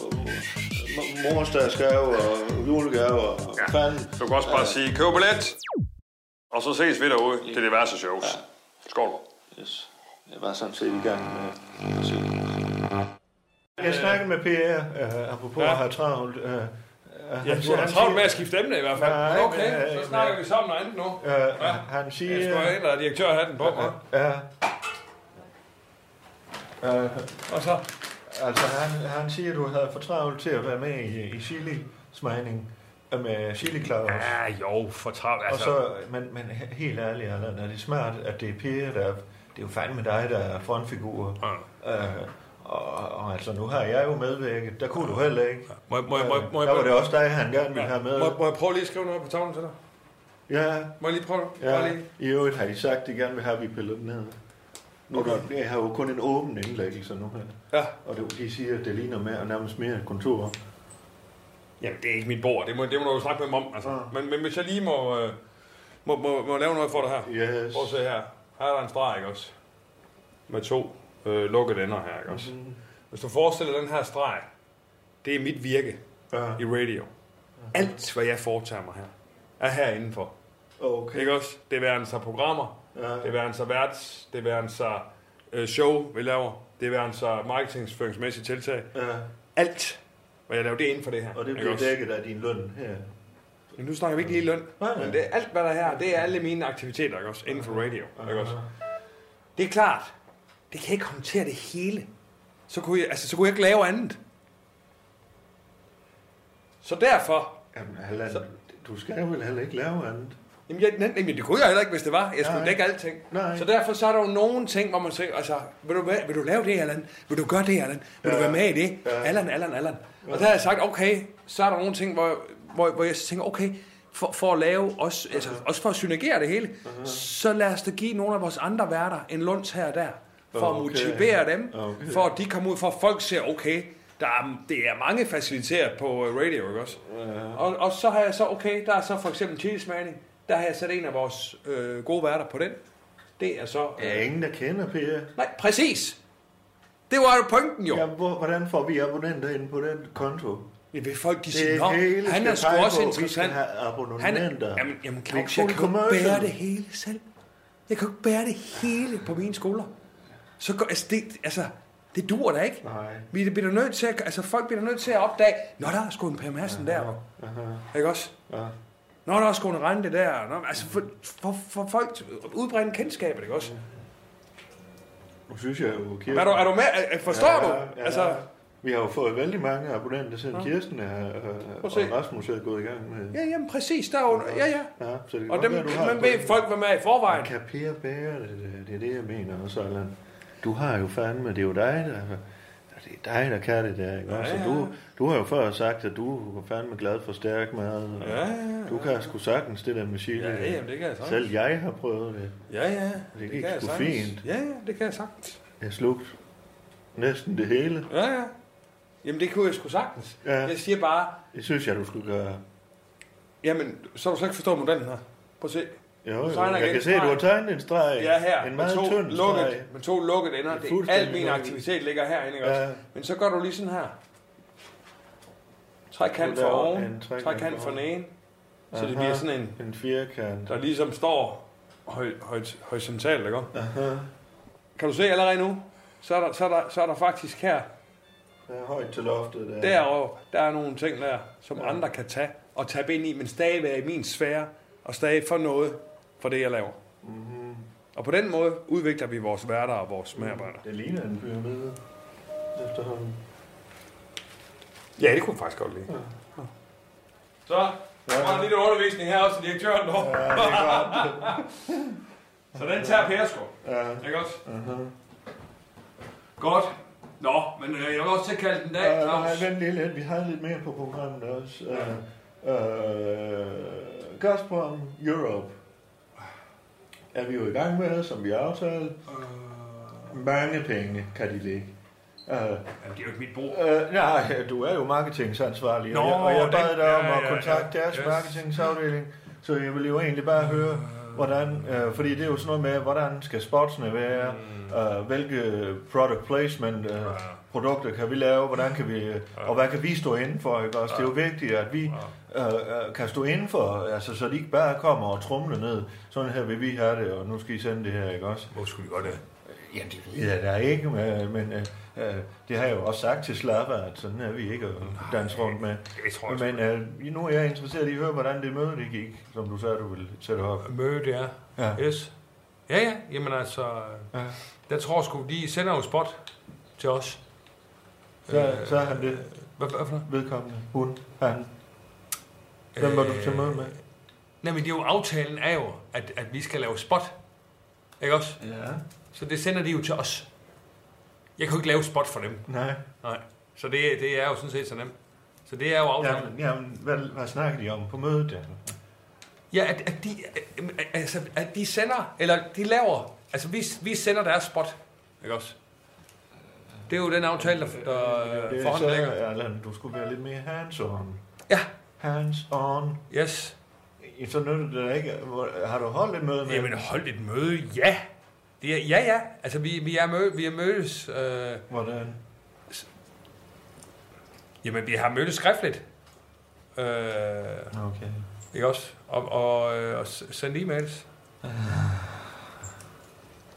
B: m- morsdagsgave og julegave og ja. fanden.
K: Du kan også bare sige, køb billet. Og så ses vi derude til diverse shows. Skål.
B: Yes. Jeg var sådan set i gang med at se. Jeg snakkede med PR, øh, apropos ja.
D: Ja.
B: at have travlt. Øh, øh,
D: Ja,
B: han
D: du
B: siger-
D: har
B: han
D: travlt med
B: siger-
D: at skifte emne i hvert fald.
B: Nej,
D: Men okay,
B: men, øh,
D: så snakker vi sammen noget andet nu.
B: Øh, ja. Han siger...
D: Jeg skulle have ændret direktørhatten på mig.
B: Ja. Øh,
D: og så?
B: Altså, han, han siger, at du havde for travlt til at være med i, i Chili-smagning øh, med chili Claus.
D: Ja, jo, for travlt.
B: Og
D: Altså.
B: så, men, men he- helt ærligt, Allan, er det smart, at det er Per, der... Det er jo fandme dig, der er frontfigur. Ja. Øh, og, og, altså, nu har jeg jo medvirket. Der kunne du heller ikke.
D: Må, må, må, må,
B: der var det også dig, han gerne ville have med.
D: Må, må jeg prøve lige at skrive noget på tavlen til dig?
B: Ja.
D: Må jeg lige prøve det? Bare
B: Ja,
D: lige.
B: i øvrigt har de sagt, at de gerne vil have, at vi piller den ned. Nu okay. der, jeg har jo kun en åben indlæggelse nu her.
D: Ja.
B: Og det, de siger, at det ligner mere, nærmest mere et kontor.
D: Jamen, det er ikke mit bord. Det må, det må du jo snakke med dem om. Altså. Men, men hvis jeg lige må, øh, må, må, må lave noget for dig her.
B: Yes.
D: Prøv at se her. Her er der en streg, ikke også? Med to øh, lukkede ender her, ikke også?
B: Mhm.
D: Mm-hmm. Hvis du forestiller dig den her streg, det er mit virke
B: ja.
D: i radio. Alt, hvad jeg foretager mig her, er her indenfor.
B: Okay.
D: Ikke også? Det er sig programmer,
B: Ja.
D: det er sig værts, det er sig øh, show, vi laver, det er sig marketingsføringsmæssige tiltag.
B: Ja.
D: Alt, hvad jeg laver, det er inden for det her.
B: Og det
D: Ikke
B: bliver
D: også?
B: dækket af din løn her.
D: Men nu snakker vi ikke lige løn.
B: Nej, nej.
D: Men det, er alt, hvad der er her, det er alle mine aktiviteter, ikke også? Inden for radio, ikke også? Det er klart, det kan jeg ikke håndtere det hele. Så kunne jeg, altså, så kunne jeg ikke lave andet. Så derfor...
B: Jamen, Allan, du skal jo vel heller ikke lave andet.
D: Jamen, jeg, nej, jamen, det kunne jeg heller ikke, hvis det var. Jeg skulle
B: Nej.
D: dække alting.
B: Nej.
D: Så derfor så er der jo nogle ting, hvor man siger, altså, vil du, være- vil du lave det, Allan? Vil du gøre det, Allan? Vil du være med i det? Allan, Allan, Allan. Og der har jeg sagt, okay, så er der nogle ting, hvor, hvor, hvor jeg tænker, okay, for, for at lave, også, altså, også for at synergere det hele, så lad os da give nogle af vores andre værter en lunds her og der, for
B: Okay.
D: at motivere dem,
B: Okay.
D: for at de kommer ud, for at folk ser, okay, der er, det er mange faciliteret på øh, radio, ikke også? Og, og så har jeg så, okay, der er så for eksempel chilismagning, der har jeg sat en af vores øh, gode værter på den. Det er så...
B: Der er ingen, der kender Per.
D: Nej, præcis. Det var jo pointen jo.
B: Ja, hvor, hvordan får vi abonnenter ind på den konto?
D: Ja, vil folk de
B: det
D: siger, "Nå,
B: hele
D: han
B: skal
D: er sgu
B: pege
D: også
B: på, Vi skal
D: interessant."
B: have
D: Han er-
B: abonnenter.
D: Jamen, jamen
B: Det er
D: Claus,
B: full
D: jeg kan jo ikke
B: commercial.
D: bære det hele selv. Jeg kan jo ikke bære det hele på mine skoler. Så går, altså, det, altså, det dur da ikke.
B: Nej.
D: Vi bliver nødt til at, altså, folk bliver nødt til at opdage, Nå, der er sgu en Per Madsen der. hvor."
B: Aha.
D: Ikke også?
B: Ja.
D: Nå, der er sgu en rente der. Nå, altså, for, for, for folk udbrænde kendskabet, ikke også?
B: Nu synes jeg jo, Kirsten...
D: Er du- er du med? Er- er- forstår
B: ja,
D: du?
B: Ja, altså...
D: Altså-
B: Vi har jo fået vældig mange abonnenter, siden ja.
D: Ja.
B: Kirsten er, øh, og
D: at se.
B: Rasmus er gået i gang med.
D: Ja, jamen præcis, der er jo, ja, ja.
B: Ja, så det kan
D: Og
B: godt
D: dem,
B: være, du har
D: man ved folk, hvad med er i forvejen.
B: Kan Per bære det? Det er- Det er det, jeg mener også, Allan. Du har jo fandme, det er jo dig, der... Det er dig, der kan det der, ikke? Ja,
D: Ja,
B: ja.
D: ja.
B: Du, du har jo før sagt, at du er fandme glad for stærk mad. og
D: Ja, ja, ja.
B: Du kan sgu sagtens det der med chili.
D: Ja, ja, jamen, det kan jeg sagtens.
B: Selv jeg har prøvet det.
D: Ja, ja,
B: Det
D: det
B: gik
D: kan jeg
B: sgu
D: sagtens.
B: fint.
D: Ja, ja, det kan jeg sagtens.
B: Jeg slugte næsten det hele.
D: Ja, ja. Jamen det kunne jeg sgu sagtens.
B: Ja.
D: Jeg siger bare,
B: Det synes jeg, du skulle gøre.
D: Jamen, så har du slet ikke forstået modellen her. Prøv at se.
B: Jo,
D: Du
B: jo,
D: tegner
B: jeg
D: en
B: kan se, at du har
D: streg.
B: tegnet en streg.
D: Ja, her.
B: En
D: En
B: meget
D: med, to
B: tynd streg.
D: lukket, med to lukkede ender. Det er
B: Fuldstændig
D: alt min
B: lukket.
D: aktivitet ligger herinde, ikke
B: Ja.
D: også? Men så gør du lige sådan her. Trækant
B: Du
D: for
B: laver
D: oven,
B: en trekant
D: trekant
B: for
D: for den
B: oven.
D: ene. Så det
B: Aha,
D: bliver sådan en,
B: en firkant.
D: der ligesom står høj, høj, horisontalt, ikke også?
B: Aha.
D: Kan du se allerede nu? Så er der, så er der, så er der faktisk her,
B: Der er højt til loftet der.
D: derovre, der er nogle ting der, som andre kan tage og tabe ind i, men stadig være i min sfære og stadig få noget for det, jeg laver.
B: Mhm.
D: Og på den måde udvikler vi vores værter og vores medarbejdere.
B: Det ligner en pyramide efterhånden.
D: Mhm. Ja, det kunne jeg faktisk godt lide. Ja. Så
K: der var en lille undervisning her også til direktøren. Ja, det
B: er
K: godt. så den tager Per sgu.
B: Ja.
K: Ikke også?
B: Uh-huh.
D: Godt. Nå, men øh, jeg vil også til at kalde den dag,
B: Ja,
D: Claus.
B: Øh, nej, vent lige lidt. Vi har lidt mere på programmet også. Ja. Uh, Gazprom Europe er vi jo i gang med, som vi aftalte.
D: Øh.
B: Mange penge kan de lægge. Uh,
D: det er jo ikke mit bord.
B: Uh, nej, du er jo marketingansvarlig,
D: Nå,
B: og jeg, og jeg bad
D: den-
B: dig om
D: ja,
B: at
D: ja,
B: kontakte
D: ja.
B: deres
D: Yes.
B: marketingsafdeling, så jeg vil jo egentlig bare høre,
D: Ah.
B: hvordan, øh, fordi det er jo sådan noget med, hvordan skal spotsene være,
D: Mm.
B: øh, hvilke product placement
D: Ah.
B: øh, produkter kan vi lave, hvordan kan vi, og hvad kan vi stå inden for, ikke også? Det er jo
D: Ah.
B: vigtigt, at vi øh, øh, kan stå inden for, altså så de ikke bare kommer og trumler ned, sådan her vil vi have det, og nu skal I sende det her, ikke også?
D: Hvor skulle de godt det? Jamen, det
B: Ja, der er ikke, men, men øh, øh, det har jeg jo også sagt til Slapper, at sådan er vi ikke at danse rundt med.
D: det tror jeg
B: men øh, nu er jeg interesseret i at høre, hvordan det møde det gik, som du sagde, du ville sætte op.
D: Møde det er.
B: Ja.
D: Yes. Ja, ja. Jamen altså, ja. der tror jeg sgu, de sender jo spot til os.
B: Så,
D: Øh,
B: så er han det.
D: Hvad, hvad for noget?
B: Vedkommende. Hun. Han. Hvem var du til møde med?
D: Nej, men det er jo, aftalen er jo, at, at vi skal lave spot. Ikke også?
B: Ja.
D: Så det sender de jo til os. Jeg kan jo ikke lave spot for dem.
B: Nej.
D: Nej. Så det, det er jo sådan set så nemt. Så det er jo aftalen.
B: Jamen, jamen hvad, hvad snakker de om på mødet? Der?
D: Ja, at, at, de, at, altså, at de sender, eller de laver, altså vi, vi sender deres spot, ikke også? Det er jo den aftale, der, der
B: Øh, Det er så,
D: forhånden ligger.
B: Allan, du skulle være lidt mere hands-on.
D: Ja.
B: Hands-on.
D: Yes.
B: Så nytter det da ikke. Hvor- Har du holdt et møde med
D: Jamen
B: dem?
D: holdt et møde, ja. Det er, ja, ja. Altså vi, vi, er, mød, vi er mødes... Øh,
B: Hvordan?
D: Jamen vi har mødtes skriftligt. Øh,
B: okay.
D: Ikke også? Og, og, øh, og s- sendt e-mails.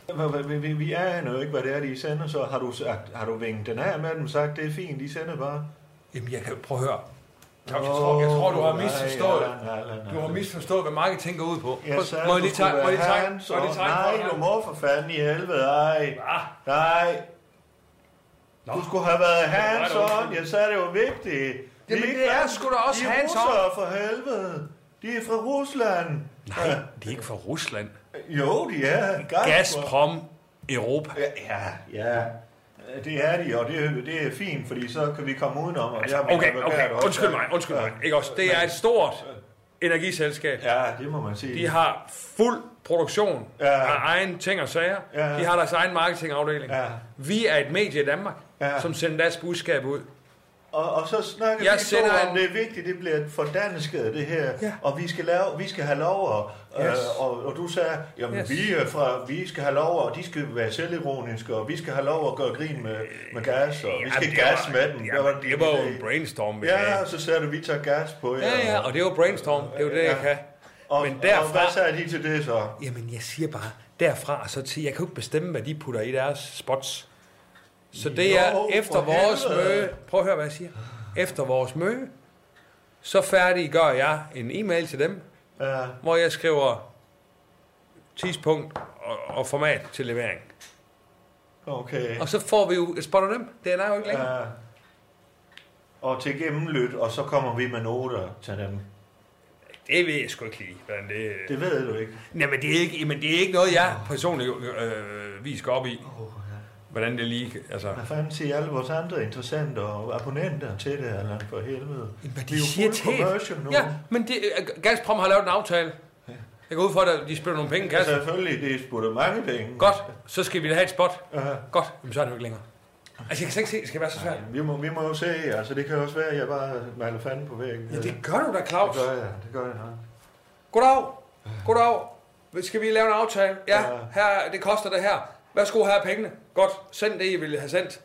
B: Hva- hva- Vi, vi, vi aner jo ikke, hvad det er, de sender, så har du, sagt, har du vinket den af med dem og sagt, det er fint, de sender bare?
D: Jamen, jeg kan prøve at høre. Claus, jeg tror, jeg tror, du har misforstået.
B: Nej, nej, nej, nej.
D: Du har misforstået, hvad marketing går ud på.
B: Jeg sagde,
D: må jeg lige
B: du
D: tage,
B: skulle
D: må jeg lige
B: være
D: tage,
B: hans,
D: må jeg lige
B: og-
D: tage,
B: Nej, du må for fanden i helvede, ej. Nej. Du skulle have været hands on. Jeg sagde, det var vigtigt. Vi
D: Jamen,
B: ikke
D: det er
B: blandt-
D: sgu da også
B: de er
D: hands on.
B: russere, for helvede. De er fra Rusland.
D: Nej, de er ikke fra Rusland.
B: Jo, de er.
D: Gazprom Europa.
B: Ja, ja, ja. Det er de, og det, er- det er fint, fordi så kan vi komme udenom. Og det har vi
D: Altså, Okay,
B: advokater
D: okay,
B: også.
D: undskyld mig, undskyld mig. Ikke også? Det er et stort energiselskab.
B: Ja, det må man sige.
D: De har fuld produktion af egen ting og sager.
B: Ja.
D: De har deres egen marketingafdeling.
B: Ja.
D: Vi er et medie i Danmark,
B: Ja.
D: som sender deres budskab ud.
B: Og, og så snakker
D: Jeg
B: jeg vi
D: sender
B: to om,
D: en-
B: det er vigtigt, det bliver fordansket, det her. Ja. Og vi skal, lave, vi skal have lov, og,
D: Yes.
B: øh, og, og du sagde, jamen
D: Yes.
B: yes. vi, er fra, vi skal have lov, og de skal være selvironiske, og vi skal have lov at gøre grin med, med gas, og vi
D: Jamen,
B: skal
D: det
B: gas
D: var-
B: med dem.
D: jamen, det var jo en
B: idé.
D: brainstorm, vi
B: Ja,
D: havde.
B: og så sagde du, vi tager gas på jer.
D: Ja, ja, og det er jo brainstorm. Det er jo det, jeg kan.
B: Og,
D: Men
B: og
D: derfra-
B: hvad sagde de til det så?
D: Jamen, jeg siger bare, derfra og så til, jeg kan jo ikke bestemme, hvad de putter i deres spots. Så det
K: Jo,
D: er
K: for
D: efter vores
K: helvede.
D: møde, prøv at høre, hvad jeg siger. Efter vores møde, så færdiggør jeg en e-mail til dem,
B: ja.
D: hvor jeg skriver tidspunkt og, og format til levering.
B: Okay.
D: Og så får vi jo et spot af dem. Det er jo ikke længere.
B: Ja. Øh, Og til gennemlyt, og så kommer vi med noter til dem.
D: Det ved jeg sgu ikke lige, hvordan det...
B: Det ved du ikke.
D: Nej, men det er ikke, men det er ikke noget, jeg personligt øh, vi skal op i. Hvordan det lige... Altså.
B: Hvad fanden siger alle vores andre interessenter og abonnenter til det, Allan, for helvede? Hvad
D: De siger til...
B: nu.
D: Ja, men det, øh, Gazprom har lavet en aftale. Jeg går ud for, at de spiller nogle penge i
B: Altså-
D: kassen.
B: Selvfølgelig, det er sgu da mange penge. Øh,
D: Godt, så skal vi da have et spot.
B: Ja.
D: Godt, Jamen, så er det jo ikke længere. Altså, jeg kan slet ikke se, det skal være så svært.
B: Vi må, vi må jo se, altså det kan også være, at jeg bare maler fanden på væggen.
D: Ja, det gør du da, Claus.
B: Det gør jeg, det gør jeg nok.
D: Goddag. Goddag. Skal vi lave en aftale? Ja, her, det koster det her. Værsgo, her er pengene. Godt, send det, I ville have sendt.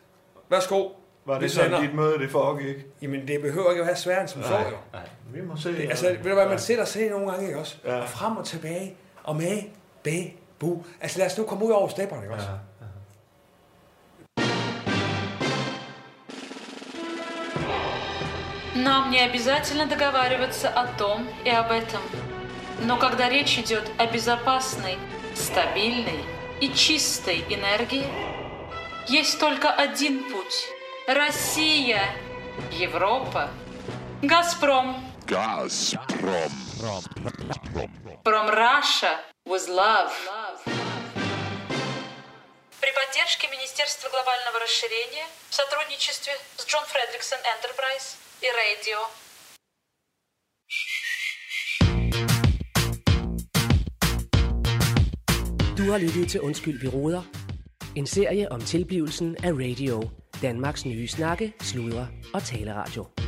D: Værsgo.
B: Var
D: Vi
B: det sådan,
D: sender.
B: dit møde det foregik?
D: Jamen, det behøver ikke at være sværere end som så,
B: Nej,
D: jo.
B: nej. Vi må se.
D: Det, altså, ved du hvad, man sidder og ser nogle gange, ikke også? Ja. Og frem og tilbage, og med, bag, bu. Altså, lad os nu komme ud over stepperne, ikke også?
A: Нам не обязательно договариваться о том и об этом. Но когда речь идет о безопасной, стабильной и чистой энергии, есть только один путь. Россия, Европа, Газпром.
L: Газпром.
A: From Russia with love. При поддержке Министерства глобального расширения в сотрудничестве с Джон Фредриксон Enterprise и Radio
M: Du har lyttet til Undskyld, vi råder. En serie om tilblivelsen af radio. Danmarks nye snakke, sludre og taleradio.